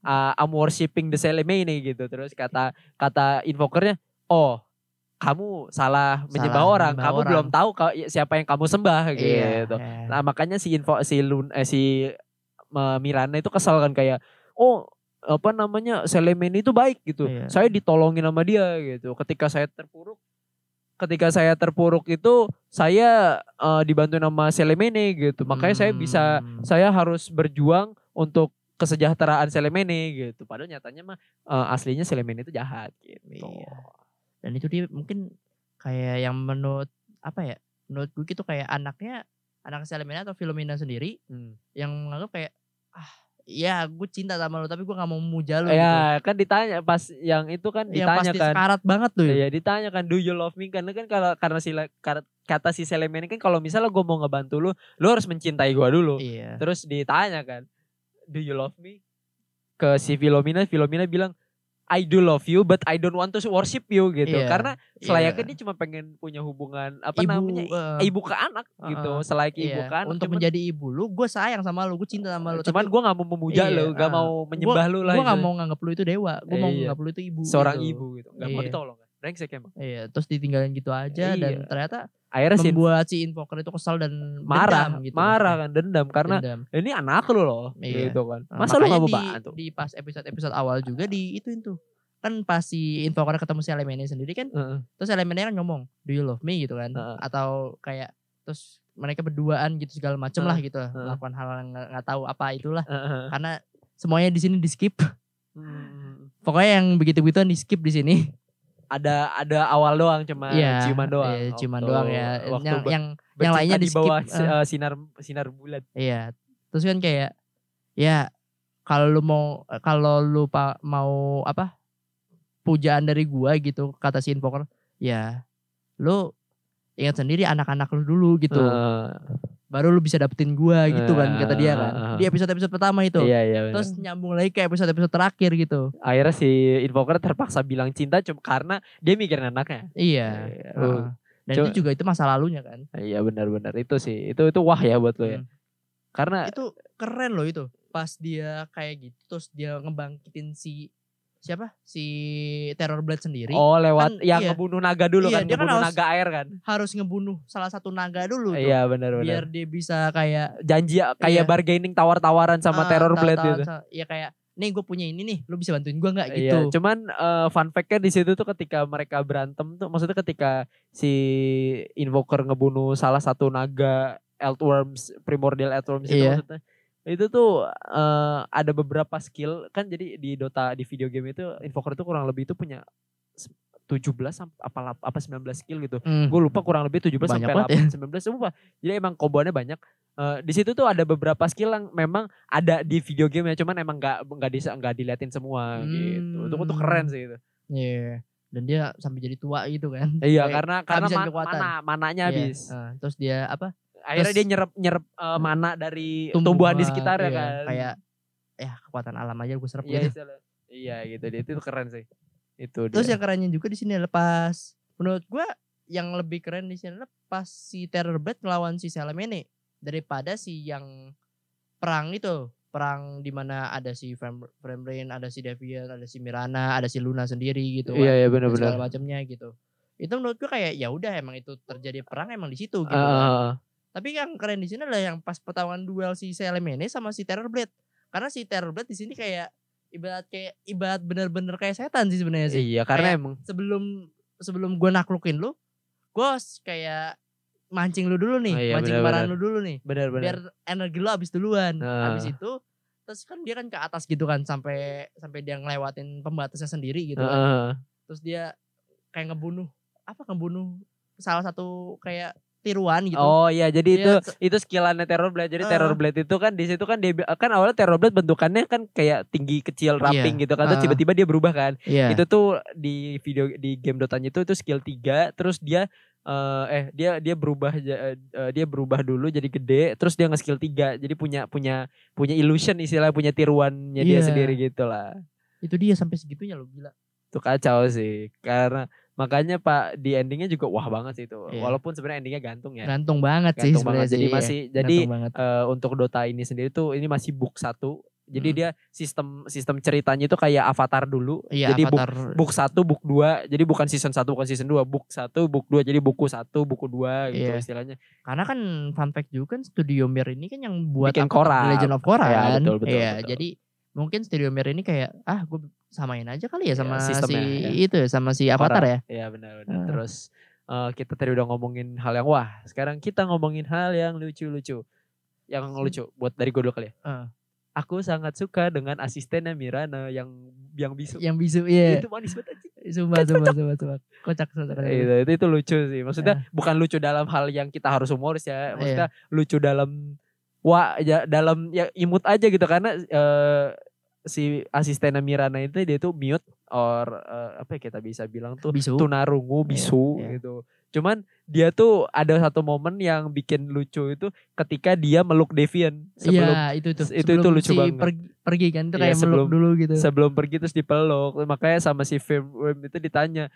S5: "Ah, I'm worshiping the Selemene gitu terus kata kata invokernya oh kamu salah menyembah
S4: Salah
S5: orang
S4: menyembah
S5: kamu
S4: orang."
S5: belum tahu ka- siapa yang kamu sembah gitu
S4: Iya, iya.
S5: Nah makanya si info si Lun eh, si eh, Mirana itu kesel kan kayak oh apa namanya Selemen itu baik gitu.
S4: Iya.
S5: Saya ditolongin sama dia gitu. Ketika saya terpuruk ketika saya terpuruk itu saya eh, dibantu sama Selemene gitu. Makanya saya bisa
S4: Hmm.
S5: saya harus berjuang untuk kesejahteraan Selemene gitu. Padahal nyatanya mah eh, aslinya Selemene itu jahat gitu.
S4: Iya. dan itu dia mungkin kayak yang menurut apa ya menurut gue gitu kayak anaknya anak Selemena atau Filomena sendiri
S5: Hmm.
S4: yang menganggap kayak ah ya gue cinta sama lu tapi gue nggak mau memuja lu gitu.
S5: Ya kan ditanya pas yang itu kan
S4: Yang
S5: ditanya
S4: pasti
S5: kan.
S4: sekarat banget tuh ya.
S5: Iya ditanya kan do you love me karena kan kalau karena si le- kar- kata si Selem ini kan kalau misalnya gue mau ngebantu lu, lu harus mencintai gue dulu.
S4: Iya.
S5: Terus ditanya kan, do you love me? Ke si Filomena, Filomena bilang I do love you but I don't want to worship you gitu.
S4: Iya,
S5: Karena selayaknya
S4: Iya.
S5: dia cuma pengen punya hubungan apa
S4: ibu,
S5: namanya?
S4: eh,
S5: Ibu ke anak gitu,
S4: Uh-uh.
S5: selayaknya ibu
S4: iya,
S5: ke anak.
S4: untuk
S5: cuman,
S4: menjadi ibu lu, gue sayang sama lu, gue cinta sama lu.
S5: cuman
S4: tapi
S5: gue gak mau memuja
S4: Iya,
S5: lu, gak
S4: ah.
S5: mau menyembah lu
S4: gue gak
S5: lah. istilahnya.
S4: mau nganggap lu itu dewa, gue mau
S5: Iya.
S4: nganggap lu itu ibu.
S5: seorang
S4: gitu.
S5: ibu gitu. Gak mau
S4: Iya.
S5: ditolong. kan. Brengsek emang.
S4: Iya, terus ditinggalin gitu aja dan
S5: Iya.
S4: ternyata
S5: Akhirnya si
S4: membuat si invoker itu kesal dan
S5: marah,
S4: dendam gitu.
S5: marah kan dendam karena
S4: Dendam.
S5: ini anak lu loh
S4: Iya.
S5: gitu kan.
S4: Nah,
S5: Masa lu
S4: makanya
S5: gak mau
S4: di-
S5: bantu?
S4: Di pas episode-episode awal juga di itu itu kan pas si invoker ketemu si elemennya sendiri kan
S5: Heeh.
S4: terus elemennya kan ngomong do you love me gitu kan
S5: Heeh.
S4: atau kayak terus mereka berduaan gitu segala macem lah gitu
S5: Heeh.
S4: melakukan hal yang nggak nggak tahu apa itulah
S5: Heeh.
S4: karena semuanya di sini di skip <laughs>
S5: Hmm.
S4: pokoknya yang begitu begituan di skip di sini
S5: ada ada awal doang cuma
S4: Iya,
S5: Ah, ciuman doang.
S4: iya, ciuman
S5: Waktu-
S4: doang ya
S5: waktu
S4: yang
S5: ber-
S4: yang yang
S5: bercinta
S4: lainnya di
S5: di bawah
S4: skip,
S5: si- eh, sinar sinar bulan.
S4: iya terus kan kayak ya kalau lu mau kalau lu pa- mau apa pujaan dari gua gitu kata si invoker ya lu ingat sendiri anak-anak lu dulu gitu
S5: Heeh.
S4: baru lu bisa dapetin gua gitu kan kata dia kan
S5: Ah.
S4: di episode episode pertama itu
S5: Iya iya. benar.
S4: terus nyambung lagi ke episode episode terakhir gitu
S5: akhirnya si invoker terpaksa bilang cinta cuma karena dia mikirin anaknya.
S4: iya
S5: Iya.
S4: heeh. dan
S5: Cuma-
S4: itu juga itu masa lalunya kan
S5: Iya benar-benar itu sih itu itu wah ya buat lo ya.
S4: Hmm.
S5: Karena
S4: itu keren loh itu pas dia kayak gitu terus dia ngebangkitin si siapa si terror blade sendiri
S5: oh
S4: Kan,
S5: lewat yang
S4: iya.
S5: ngebunuh naga dulu
S4: Iya,
S5: kan
S4: dia kan
S5: ngebunuh
S4: harus-
S5: naga air kan.
S4: harus ngebunuh salah satu naga dulu tuh,
S5: Iya benar-benar.
S4: biar dia bisa kayak Ah,
S5: Janji kayak
S4: Iya.
S5: bargaining tawar-tawaran sama terror blade itu.
S4: ya kayak nih gue punya ini nih lu bisa bantuin gua nggak
S5: Iya,
S4: gitu
S5: cuman eh, fun fact-nya di situ tuh ketika mereka berantem tuh maksudnya ketika si invoker ngebunuh salah satu naga earthworms primordial earthworms itu
S4: Iya.
S5: maksudnya itu tuh eh, ada beberapa skill kan jadi di Dota di video game itu invoker itu kurang lebih itu punya se- 17 sampai apa lap- apa 19 skill gitu.
S4: Hmm.
S5: Gue lupa kurang lebih 17
S4: Banyak
S5: sampai
S4: banget ya.
S5: 18 19 semua. Jadi emang komboannya banyak. Eh, di situ tuh ada beberapa skill yang memang ada di video game ya cuman emang nggak nggak bisa nggak diliatin semua gitu itu tuh
S4: Hmm.
S5: keren sih itu
S4: Iya. dan dia sampai jadi tua gitu kan
S5: iya
S4: Kayak
S5: karena karena
S4: kehabisan
S5: man-
S4: kekuatan.
S5: mana mananya
S4: Iya,
S5: habis
S4: eh, terus dia apa
S5: akhirnya
S4: Terus-
S5: dia nyerap nyerep eh, mana dari tumbuhan di
S4: iya,
S5: sekitarnya kan
S4: kayak ya kekuatan alam aja gue serap
S5: iya
S4: gitu
S5: istilah- iya gitu dia itu keren sih itu
S4: Terus
S5: dia.
S4: yang kerennya juga di sini lepas menurut gua yang lebih keren di sini adalah pas si Terror Blade ngelawan si Salamene daripada si yang perang itu perang di mana ada si Frame Brain, ada si Devian, ada si Mirana, ada si Luna sendiri gitu
S5: iya
S4: kan,
S5: iya
S4: dan
S5: benar-benar
S4: segala macamnya gitu. Itu menurut gua kayak ya udah emang itu terjadi perang emang di situ gitu.
S5: Ah,
S4: kan.
S5: ah, ah.
S4: Tapi yang keren di sini adalah yang pas pertarungan duel si Selemene sama si Terror Blade. Karena si Terror Blade di sini kayak ibarat kayak ibarat bener-bener kayak setan sih sebenarnya sih
S5: iya karena
S4: kayak-
S5: emang
S4: sebelum sebelum gue naklukin lu, gue kayak mancing lu dulu nih,
S5: Oh iya,
S4: mancing
S5: benar-benar.
S4: kemarahan lu dulu nih, biar
S5: benar-benar
S4: energi lu habis duluan.
S5: Nah.
S4: Habis itu terus kan dia kan ke atas gitu kan sampai sampai dia ngelewatin pembatasnya sendiri gitu.
S5: Ah,
S4: kan.
S5: ah.
S4: Terus dia kayak ngebunuh apa ngebunuh salah satu kayak tiruan gitu.
S5: Oh iya jadi
S4: Iya,
S5: itu
S4: se-
S5: itu skillannya Terror Blade. Jadi
S4: Ah.
S5: Terror Blade itu kan di situ kan dia bi- kan awalnya Terror Blade bentukannya kan kayak tinggi kecil ramping gitu kan terus
S4: Ah.
S5: tiba-tiba dia berubah kan.
S4: Iya.
S5: Itu tuh di video di game Dotanya itu itu skill 3 terus dia eh, eh dia dia berubah ja- eh, dia berubah dulu jadi gede terus dia nge-skill 3. Jadi punya punya punya illusion istilahnya punya tiruannya dia
S4: Iya.
S5: sendiri gitu lah.
S4: Itu dia sampai segitunya lo gila.
S5: Itu kacau sih karena makanya Pak di endingnya juga wah banget sih itu.
S4: Iya.
S5: Walaupun sebenarnya endingnya gantung ya.
S4: Gantung banget sih
S5: Gantung
S4: sebenarnya
S5: banget. Jadi
S4: sih, iya.
S5: masih jadi
S4: Gantung banget.
S5: eh, untuk Dota ini sendiri tuh ini masih book satu. Jadi
S4: Mm.
S5: dia sistem sistem ceritanya itu kayak avatar dulu.
S4: Iya,
S5: jadi book
S4: avatar
S5: book 1, book 2. Jadi bukan season 1, bukan season 2. Book 1, book 2. Jadi buku 1, buku 2 gitu
S4: Iya.
S5: istilahnya.
S4: Karena kan fun fact juga kan Studio Mir ini kan yang buat
S5: Bikin
S4: Avatar
S5: Korra.
S4: The Legend of Korra
S5: Ya,
S4: kan.
S5: betul, betul,
S4: Iya,
S5: betul.
S4: jadi mungkin Studio Mir ini kayak ah gue samain aja kali ya
S5: Iya,
S4: sama si
S5: sistemnya, ya.
S4: itu sama si Avatar ya.
S5: Iya benar benar.
S4: Ah.
S5: Terus eh, kita tadi udah ngomongin hal yang wah. Sekarang kita ngomongin hal yang lucu-lucu. Yang
S4: Hmm.
S5: lucu buat dari gue dulu kali ya.
S4: Ah.
S5: Aku sangat suka dengan asistennya Mirana yang yang bisu.
S4: Yang bisu iya.
S5: Itu manis banget. anjing.
S4: Sumpah sumpah sumpah sumpah. Kocak kocak. kocak.
S5: Itu, Gitu, itu,
S4: Iya.
S5: itu lucu sih. Maksudnya bukan lucu dalam hal yang kita harus humoris ya. Maksudnya lucu dalam wah ja- dalam ya imut aja gitu karena eh, si asistennya Mirana itu dia tuh mute or eh, apa ya kita bisa bilang tuh
S4: Bisu.
S5: tunarungu bisu
S4: iya.
S5: gitu. Cuman dia tuh ada satu momen yang bikin lucu itu ketika dia meluk Devian sebelum
S4: Iya, itu tuh.
S5: itu- itu
S4: Sebelum
S5: lucu
S4: si
S5: banget.
S4: Pergi, pergi kan itu
S5: Iya,
S4: kayak meluk
S5: sebelum-
S4: dulu gitu.
S5: sebelum pergi terus dipeluk. Makanya sama si Fem Wem itu ditanya.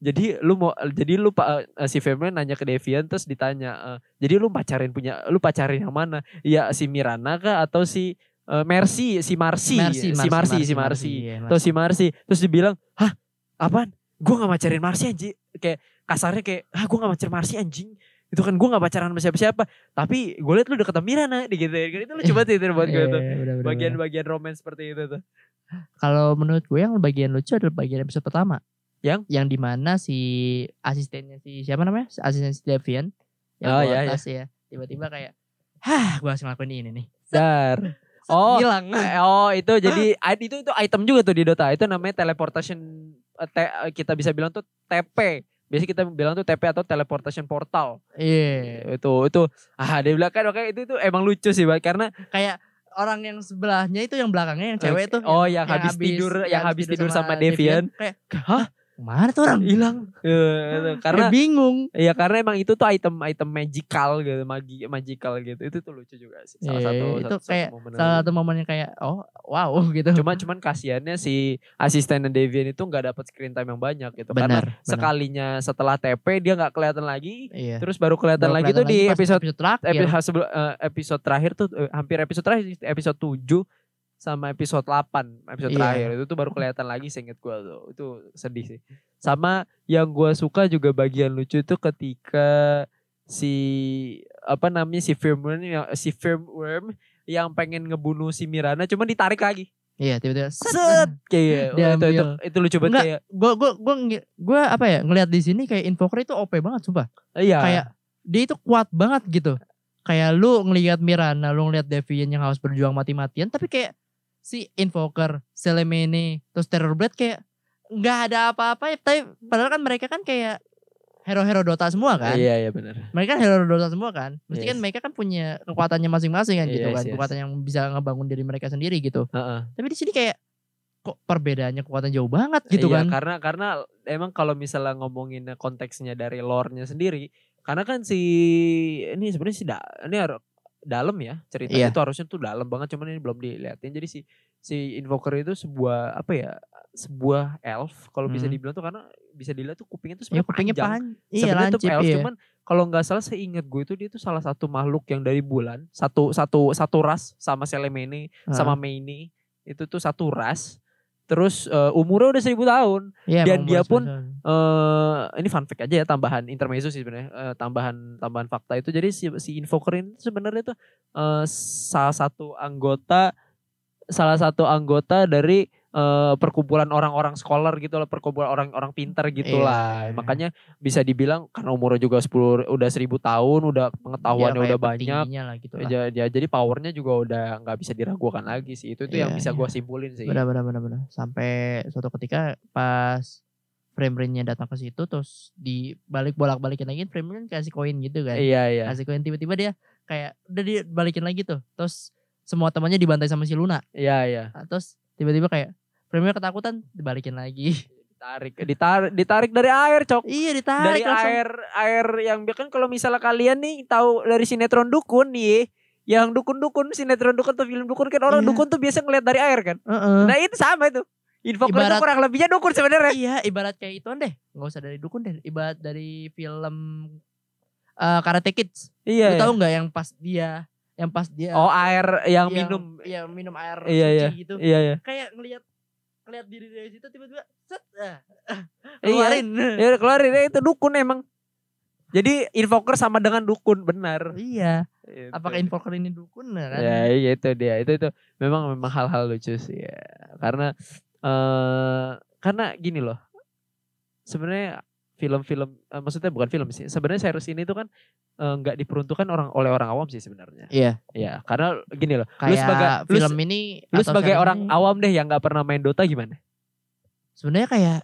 S5: Jadi lu mau jadi lu pa- eh, si Fem Wem nanya ke Devian terus ditanya, eh, "Jadi lu pacarin punya lu pacarin yang mana? Ya si Mirana kah atau si eh, Mercy, si Marsi, si Marsi, si Marsi."
S4: iya,
S5: Terus si Marsi, terus dibilang, "Hah? Apaan? Gua gak pacarin Marsi anjing." Kayak kasarnya kayak, "Hah, gua gak pacarin Marsi anjing." Itu kan gua gak pacaran sama siapa-siapa. Tapi gue liat lu deket sama Mirana gitu. Itu lu
S4: <laughs>
S5: coba titir buat gue
S4: Iya,
S5: tuh.
S4: iya, benar-benar.
S5: Bagian-bagian romance seperti itu tuh.
S4: Kalau menurut gue yang bagian lucu adalah bagian episode pertama.
S5: Yang?
S4: Yang dimana si asistennya si siapa namanya? Si Asisten si Devian. Yang
S5: Oh,
S4: bawa
S5: iya, iya.
S4: tas ya. Tiba-tiba kayak, hah gue harus ngelakuin ini nih.
S5: Dar.
S4: Set,
S5: Oh.
S4: Hilang.
S5: Oh, itu jadi itu itu item juga tuh di Dota. Itu namanya teleportation eh, te- eh, kita bisa bilang tuh TP. Biasanya kita bilang tuh TP atau teleportation portal. <laughs>
S4: Iya.
S5: Itu itu ah dia bilang kan oke itu itu emang lucu sih Bang, karena
S4: Kayak orang yang sebelahnya itu yang belakangnya yang Kan cewek
S5: Oke.
S4: tuh.
S5: Oh, yang, habis tidur, yang habis tidur sama, Devian.
S4: Kayak,
S5: Hah?
S4: mana tuh orang?
S5: Hilang. Eh, itu.
S4: Kayak
S5: karena
S4: bingung.
S5: ya karena emang itu tuh item-item magical gitu, magi magical gitu. Itu tuh lucu juga sih.
S4: Iya,
S5: Salah satu
S4: itu
S5: satu- satu
S4: kayak
S5: momen yang
S4: Salah satu momen yang kayak, oh wow <laughs> gitu.
S5: Cuma cuman kasihannya si asisten Devian itu nggak dapat screen time yang banyak gitu karena
S4: benar. benar.
S5: sekalinya setelah TP dia nggak kelihatan lagi
S4: Iya.
S5: terus baru kelihatan
S4: Baru
S5: lagi
S4: kelihatan
S5: tuh di
S4: pas Iya.
S5: episode
S4: terakhir.
S5: episode, eh, episode terakhir tuh eh, hampir episode terakhir sih, episode 7 sama episode 8 episode
S4: Iya.
S5: terakhir itu tuh baru kelihatan lagi seinget gue tuh itu sedih sih sama yang gue suka juga bagian lucu tuh ketika si apa namanya si firmworm yang si firmworm yang pengen ngebunuh si Mirana cuman ditarik lagi
S4: Iya, tiba-tiba
S5: set kayak
S4: Dia
S5: itu, itu, itu lucu
S4: iya. Enggak,
S5: banget kayak
S4: Gue gua gua nge- gua apa ya ngelihat di sini kayak invoker itu OP banget sumpah.
S5: iya
S4: Kayak dia itu kuat banget gitu. Kayak lu ngelihat Mirana, lu ngelihat Devian yang harus berjuang mati-matian tapi kayak si invoker, Selemene, terus Terror Blade kayak nggak ada apa-apa ya. Tapi padahal kan mereka kan kayak hero-hero Dota semua kan.
S5: iya iya benar
S4: mereka kan hero Dota semua kan. Mesti kan
S5: Yes.
S4: mereka kan punya kekuatannya masing-masing kan gitu
S5: Yes,
S4: kan.
S5: yes.
S4: Kekuatan yang bisa ngebangun diri mereka sendiri gitu.
S5: Heeh.
S4: Tapi di sini kayak kok perbedaannya kekuatan jauh banget gitu
S5: Iya,
S4: kan.
S5: Karena karena emang kalau misalnya ngomongin konteksnya dari lore-nya sendiri, karena kan si ini sebenarnya si da, ini har- dalam ya
S4: Iya.
S5: ceritanya itu harusnya tuh dalam banget cuman ini belum dilihatin. Jadi si si invoker itu sebuah apa ya? sebuah elf kalau bisa
S4: Hmm.
S5: dibilang tuh karena bisa dilihat tuh kupingnya tuh
S4: Ya
S5: sebenarnya
S4: kupingnya
S5: panjang.
S4: pan. Iya
S5: Sebenarnya tuh
S4: lancip
S5: elf
S4: iya.
S5: cuman kalau nggak salah seingat gue itu dia tuh salah satu makhluk yang dari bulan, satu satu satu ras sama Selemene
S4: Heeh.
S5: sama Meini itu tuh satu ras. Terus eh, umurnya udah seribu tahun.
S4: Iya,
S5: dan
S4: emang
S5: dia
S4: mulus
S5: pun-
S4: banget.
S5: eh ini fun fact aja ya tambahan intermezzo sih sebenarnya eh, tambahan tambahan fakta itu jadi si si invoker ini sebenarnya tuh eh, salah satu anggota salah satu anggota dari eh, perkumpulan orang-orang scholar gitu lah perkumpulan orang-orang pintar gitu
S4: Iya.
S5: lah makanya bisa dibilang karena umurnya juga 10 udah 1000 tahun udah pengetahuannya
S4: Iya, kayak
S5: udah banyak
S4: petingginya lah gitu lah.
S5: ya, ya, jadi powernya juga udah nggak bisa diragukan lagi sih itu itu yang
S4: Iya,
S5: bisa
S4: iya.
S5: gua simpulin sih
S4: Benar benar benar benar. Sampai suatu ketika pas frame rate-nya datang ke situ terus dibalik bolak-balikin lagi frame rate kan kasih koin gitu kan.
S5: iya iya
S4: Kasih koin tiba-tiba dia kayak udah dibalikin lagi tuh. Terus semua temannya dibantai sama si Luna.
S5: iya iya
S4: Nah, terus tiba-tiba kayak Premier ketakutan dibalikin
S5: <laughs>
S4: lagi.
S5: ditarik ditarik ditarik dari air cok
S4: iya ditarik
S5: dari
S4: langsung.
S5: air air yang kan kalau misalnya kalian nih tahu dari sinetron dukun nih yang dukun-dukun sinetron dukun atau film dukun kan orang
S4: Iya.
S5: dukun tuh biasa ngeliat dari air kan
S4: Heeh.
S5: nah itu sama itu info itu
S4: Ibarat-
S5: kurang lebihnya dukun sebenarnya
S4: Iya ibarat kayak ituan deh. Nggak usah dari dukun deh. Ibarat dari film eh, Karate Kids.
S5: iya
S4: Lu tahu nggak yang pas dia yang pas dia
S5: oh air yang,
S4: Iya.
S5: minum
S4: yang minum air
S5: Iya,
S4: suci
S5: iya.
S4: gitu.
S5: iya iya
S4: Kayak ngelihat ngelihat diri dari situ tiba-tiba set ah,
S5: iya
S4: keluarin.
S5: ya udah keluarin ya, itu dukun emang jadi invoker sama dengan dukun benar
S4: Iya.
S5: Itu.
S4: Apakah invoker ini dukun nah kan?
S5: Ya iya itu dia itu itu memang memang hal-hal lucu sih ya karena eh karena gini loh sebenarnya film-film eh, maksudnya bukan film sih sebenarnya series ini tuh kan eh, nggak diperuntukkan orang oleh orang awam sih sebenarnya
S4: Iya.
S5: ya karena gini loh
S4: Kayak
S5: sebagai- lu
S4: film
S5: se-
S4: ini
S5: lu
S4: atau
S5: sebagai
S4: serial
S5: orang
S4: ini, Iya,
S5: awam deh yang nggak pernah main Dota gimana
S4: sebenarnya kayak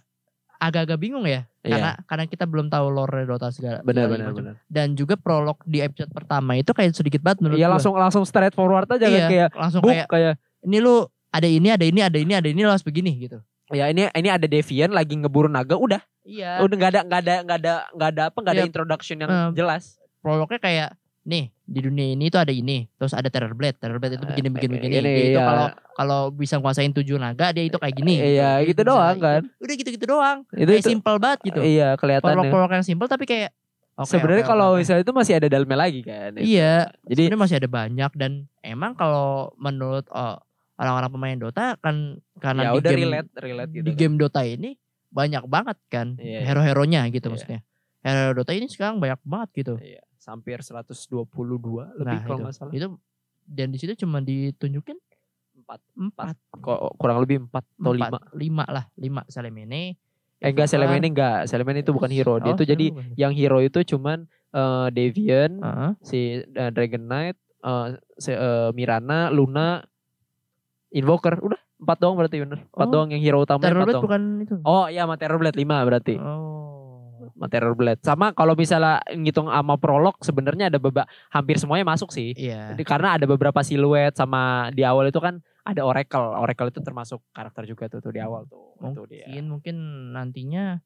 S4: agak-agak bingung ya karena karena kita belum tahu lore Dota segala segala
S5: benar-benar
S4: macam.
S5: Iya. benar.
S4: dan juga prolog di episode pertama itu kayak sedikit banget menurut
S5: Iya
S4: gua.
S5: langsung langsung straight forward aja
S4: Iya,
S5: kan kayak
S4: langsung
S5: book
S4: kayak
S5: kayak
S4: ini lu ada ini ada ini ada ini ada ini lu harus begini gitu
S5: ya ini ini ada Devian lagi ngeburu naga udah
S4: iya
S5: udah nggak ada nggak ada nggak ada nggak ada apa nggak ada
S4: Iya.
S5: introduction yang
S4: Eh,
S5: jelas
S4: prolognya kayak nih di dunia ini tuh ada ini terus ada terror blade terror blade itu begini begini begini
S5: Eh, Ini,
S4: Dia itu
S5: iya.
S4: kalau kalau bisa nguasain tujuh naga dia itu kayak gini
S5: iya
S4: Dia
S5: gitu
S4: bisa
S5: doang
S4: itu.
S5: kan
S4: udah gitu gitu doang
S5: itu,
S4: kayak
S5: itu
S4: simple banget gitu
S5: iya kelihatannya
S4: prolog-prolog yang simple tapi kayak oke,
S5: sebenarnya
S4: oke, oke,
S5: kalau
S4: oke.
S5: misalnya itu masih ada dalamnya lagi kan
S4: iya
S5: jadi ya
S4: sebenarnya masih ada banyak dan emang kalau menurut eh, orang-orang pemain Dota kan
S5: ya
S4: karena di
S5: udah
S4: game
S5: relate relate gitu
S4: di
S5: kan.
S4: game Dota ini banyak banget kan
S5: Iya, iya.
S4: hero-heronya gitu
S5: Iya.
S4: maksudnya hero Dota ini sekarang banyak banget gitu
S5: Iya, hampir 122 lebih
S4: Nah,
S5: kalau nggak salah.
S4: itu dan di situ cuma ditunjukin
S5: Empat,
S4: empat
S5: ko- kurang lebih 4 atau
S4: empat,
S5: 5.
S4: lima lah lima Salemene
S5: Eh enggak,
S4: Evoker.
S5: Selemen ini enggak. Selemen itu bukan hero. Dia
S4: Oh,
S5: tuh jadi
S4: bukan.
S5: yang hero itu cuman eh, Devian,
S4: Heeh.
S5: si eh, Dragon Knight, eh, si, eh, Mirana, Luna, Invoker. Udah, 4 doang berarti bener. 4
S4: Oh.
S5: doang yang hero utama
S4: Terror Blade
S5: doang.
S4: bukan itu
S5: Oh iya, sama Terror Blade 5 berarti.
S4: oh
S5: Sama Terror Blade. Sama kalau misalnya ngitung sama prolog sebenarnya ada beba hampir semuanya masuk sih.
S4: iya
S5: Jadi karena ada beberapa siluet sama di awal itu kan ada Oracle. Oracle itu termasuk karakter juga tuh, tuh di awal tuh. Itu dia.
S4: mungkin mungkin nantinya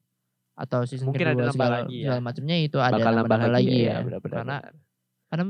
S4: atau season
S5: Mungkin ada
S4: kedua
S5: nambah
S4: segala,
S5: lagi ya.
S4: segala macamnya itu ada
S5: Bakal nambah lagi, ya.
S4: ya.
S5: benar-benar.
S4: karena karena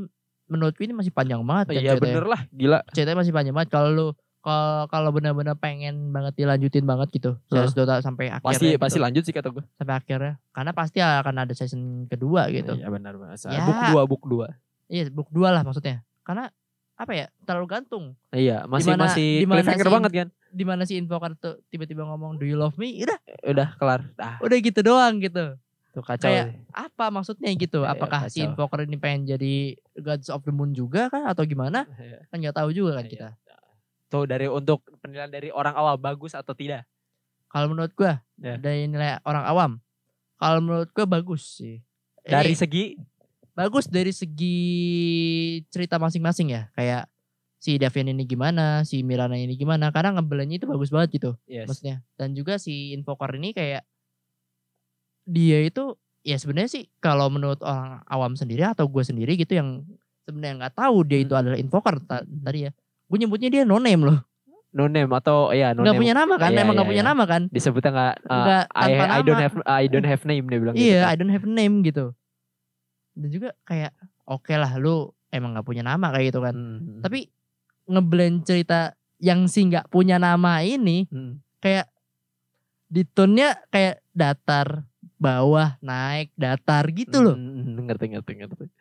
S4: menurutku ini masih panjang banget kan
S5: Iya
S4: ceritanya.
S5: bener lah, gila.
S4: Ceritanya masih panjang banget kalau lu kalau kalau benar-benar pengen banget dilanjutin banget gitu series Dota sampai akhirnya
S5: Pasti
S4: gitu.
S5: pasti lanjut sih kata gue.
S4: sampai akhirnya karena pasti akan ada season kedua gitu
S5: Iya benar benar.
S4: Ya.
S5: Book 2, book 2.
S4: iya book dua lah maksudnya karena apa ya terlalu gantung
S5: Iya, masih
S4: Dimana-
S5: masih
S4: dimana
S5: cliffhanger
S4: sih-
S5: banget kan.
S4: di mana si invoker tuh tiba-tiba ngomong do you love me udah
S5: Udah kelar. Ah,
S4: udah gitu doang gitu
S5: tuh kacau.
S4: Kayak-
S5: sih.
S4: apa maksudnya gitu?
S5: Iya,
S4: Apakah si
S5: kacau.
S4: invoker ini pengen jadi Gods of the Moon juga kan atau gimana?
S5: Iya.
S4: Kan nggak tahu juga kan
S5: Iya.
S4: kita.
S5: Tuh dari untuk penilaian dari orang awal bagus atau tidak.
S4: Kalau menurut gua
S5: Iya.
S4: dari nilai orang awam, kalau menurut gua bagus sih. Ini
S5: Dari segi
S4: bagus dari segi cerita masing-masing ya, kayak si Davian ini gimana, si Mirana ini gimana, karena ngebelenya itu bagus banget gitu.
S5: yes.
S4: maksudnya dan juga si invoker ini kayak dia itu ya sebenarnya sih kalau menurut orang awam sendiri atau gue sendiri gitu yang sebenarnya nggak tahu dia
S5: Hmm.
S4: itu adalah invoker ta- tadi ya gue nyebutnya dia no name loh
S5: no name atau ya no
S4: nggak
S5: name.
S4: punya nama kan
S5: Iya,
S4: emang nggak
S5: iya,
S4: punya
S5: iya.
S4: nama kan
S5: Disebutnya enggak
S4: Nggak,
S5: I,
S4: tanpa
S5: I don't
S4: nama.
S5: have I don't have name dia bilang
S4: iya
S5: gitu.
S4: I don't have a name gitu dan juga kayak oke lah lu emang nggak punya nama kayak gitu kan
S5: Hmm.
S4: tapi ngeblend cerita yang si nggak punya nama ini
S5: Hmm.
S4: kayak di tone-nya kayak datar bawah naik datar gitu loh
S5: Hmm, ngerti ngerti ngerti. Hmm.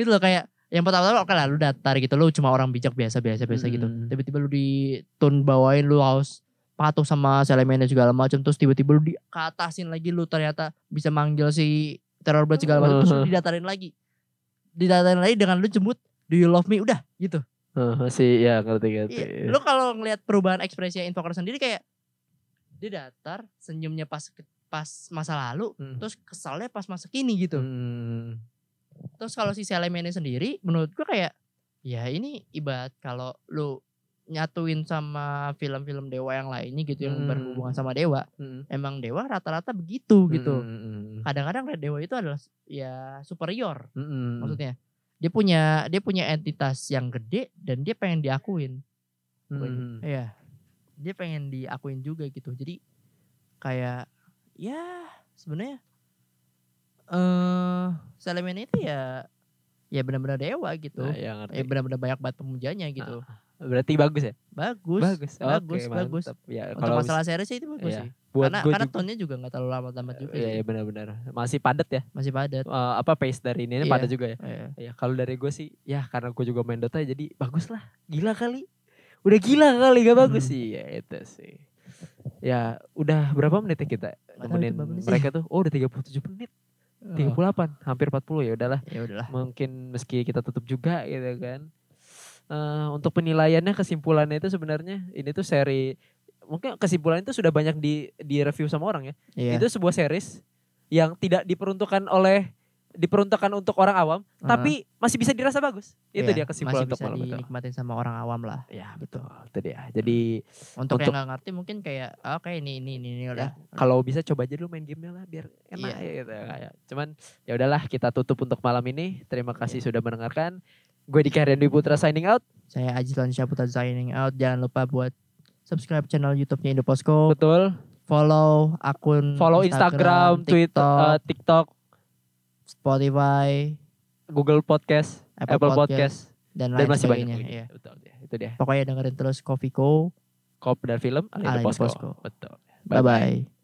S4: gitu loh kayak yang pertama-tama oke lah lu datar gitu lu cuma orang bijak biasa biasa biasa gitu
S5: Hmm.
S4: tiba-tiba lu di tone bawain lu harus patuh sama selemennya segala macam terus tiba-tiba lu di ke atasin lagi lu ternyata bisa manggil si teror blade segala macam terus lu
S5: Uh-huh.
S4: didatarin lagi didatarin lagi dengan lu jemput do you love me udah gitu
S5: Heeh, sih ya ngerti ngerti.
S4: Iya, lu kalau ngelihat perubahan ekspresi invoker sendiri kayak dia datar, senyumnya pas ke- pas masa lalu,
S5: Hmm.
S4: terus kesalnya pas masa kini gitu.
S5: Hmm.
S4: Terus kalau si Selemennya sendiri menurut gua kayak ya ini ibarat kalau lu nyatuin sama film-film dewa yang lainnya gitu yang
S5: Hmm.
S4: berhubungan sama dewa.
S5: Hmm.
S4: Emang dewa rata-rata begitu gitu.
S5: Hmm.
S4: Kadang-kadang dewa itu adalah ya superior
S5: Hmm.
S4: maksudnya. Dia punya dia punya entitas yang gede dan dia pengen diakuin.
S5: Hmm.
S4: Iya. Dia pengen diakuin juga gitu. Jadi kayak ya sebenarnya eh Selemen itu ya ya benar-benar dewa gitu.
S5: Nah, ya ngerti.
S4: Eh benar-benar banyak banget pemujanya gitu.
S5: Berarti bagus ya?
S4: Bagus. Bagus,
S5: Oke,
S4: bagus.
S5: mantap. Ya,
S4: Untuk
S5: kalau
S4: masalah series sih itu bagus
S5: iya.
S4: sih.
S5: buat
S4: karena
S5: gua
S4: karena
S5: juga-
S4: tone-nya juga nggak terlalu lama-lama juga.
S5: Iya,
S4: sih.
S5: iya benar-benar. Masih padat ya.
S4: Masih padat.
S5: Eh, apa pace dari ini, ini
S4: Iya.
S5: padat juga ya.
S4: Iya.
S5: Ya, kalau dari gue sih ya karena gue juga main Dota jadi bagus lah. Gila kali. Udah gila kali gak bagus
S4: Hmm.
S5: sih. Ya itu sih. Ya udah berapa menit ya kita
S4: Nggak tahu
S5: nemenin
S4: itu berapa menit sih. Oh.
S5: mereka tuh? Oh, udah 37 menit. 38, hampir 40 ya udahlah.
S4: Ya udahlah.
S5: mungkin meski kita tutup juga gitu kan. Eh, untuk penilaiannya kesimpulannya itu sebenarnya ini tuh seri mungkin kesimpulan itu sudah banyak di di review sama orang ya.
S4: Iya.
S5: Itu sebuah series yang tidak diperuntukkan oleh diperuntukkan untuk orang awam,
S4: Heeh.
S5: tapi masih bisa dirasa bagus. Itu
S4: Iya,
S5: dia
S4: masih
S5: kesimpulan untuk gitu.
S4: bisa Hmm.
S5: malam itu.
S4: dinikmatin sama orang awam lah.
S5: Ya betul, itu dia. Jadi
S4: Untuk,
S5: Untuk-
S4: yang nggak ngerti mungkin kayak "Ah, oke ini ini ini, ini udah.
S5: kalau bisa coba aja dulu main gamenya lah biar
S4: Iya.
S5: enak ya gitu. Kayak, Cuman ya udahlah kita tutup untuk malam ini. Terima kasih
S4: Iya.
S5: sudah mendengarkan. Gue Dika Randy Putra signing out.
S4: Saya Ajitlan Syaputra signing out. Jangan lupa buat subscribe channel YouTube-nya Indoposko,
S5: Betul.
S4: follow akun
S5: Follow Instagram, Twitter, eh,
S4: Hmm, TikTok,
S5: TikTok,
S4: Spotify,
S5: Google Podcast,
S4: Apple
S5: Apple,
S4: Podcast,
S5: Podcast,
S4: dan lain
S5: dan masih banyak.
S4: sebagainya.
S5: lagi.
S4: Iya.
S5: Betul, itu dia.
S4: Pokoknya dengerin terus Coffee Co.
S5: Kop dan film Alien
S4: Alien
S5: Bosco.
S4: Bosco.
S5: Betul.
S4: Bye bye.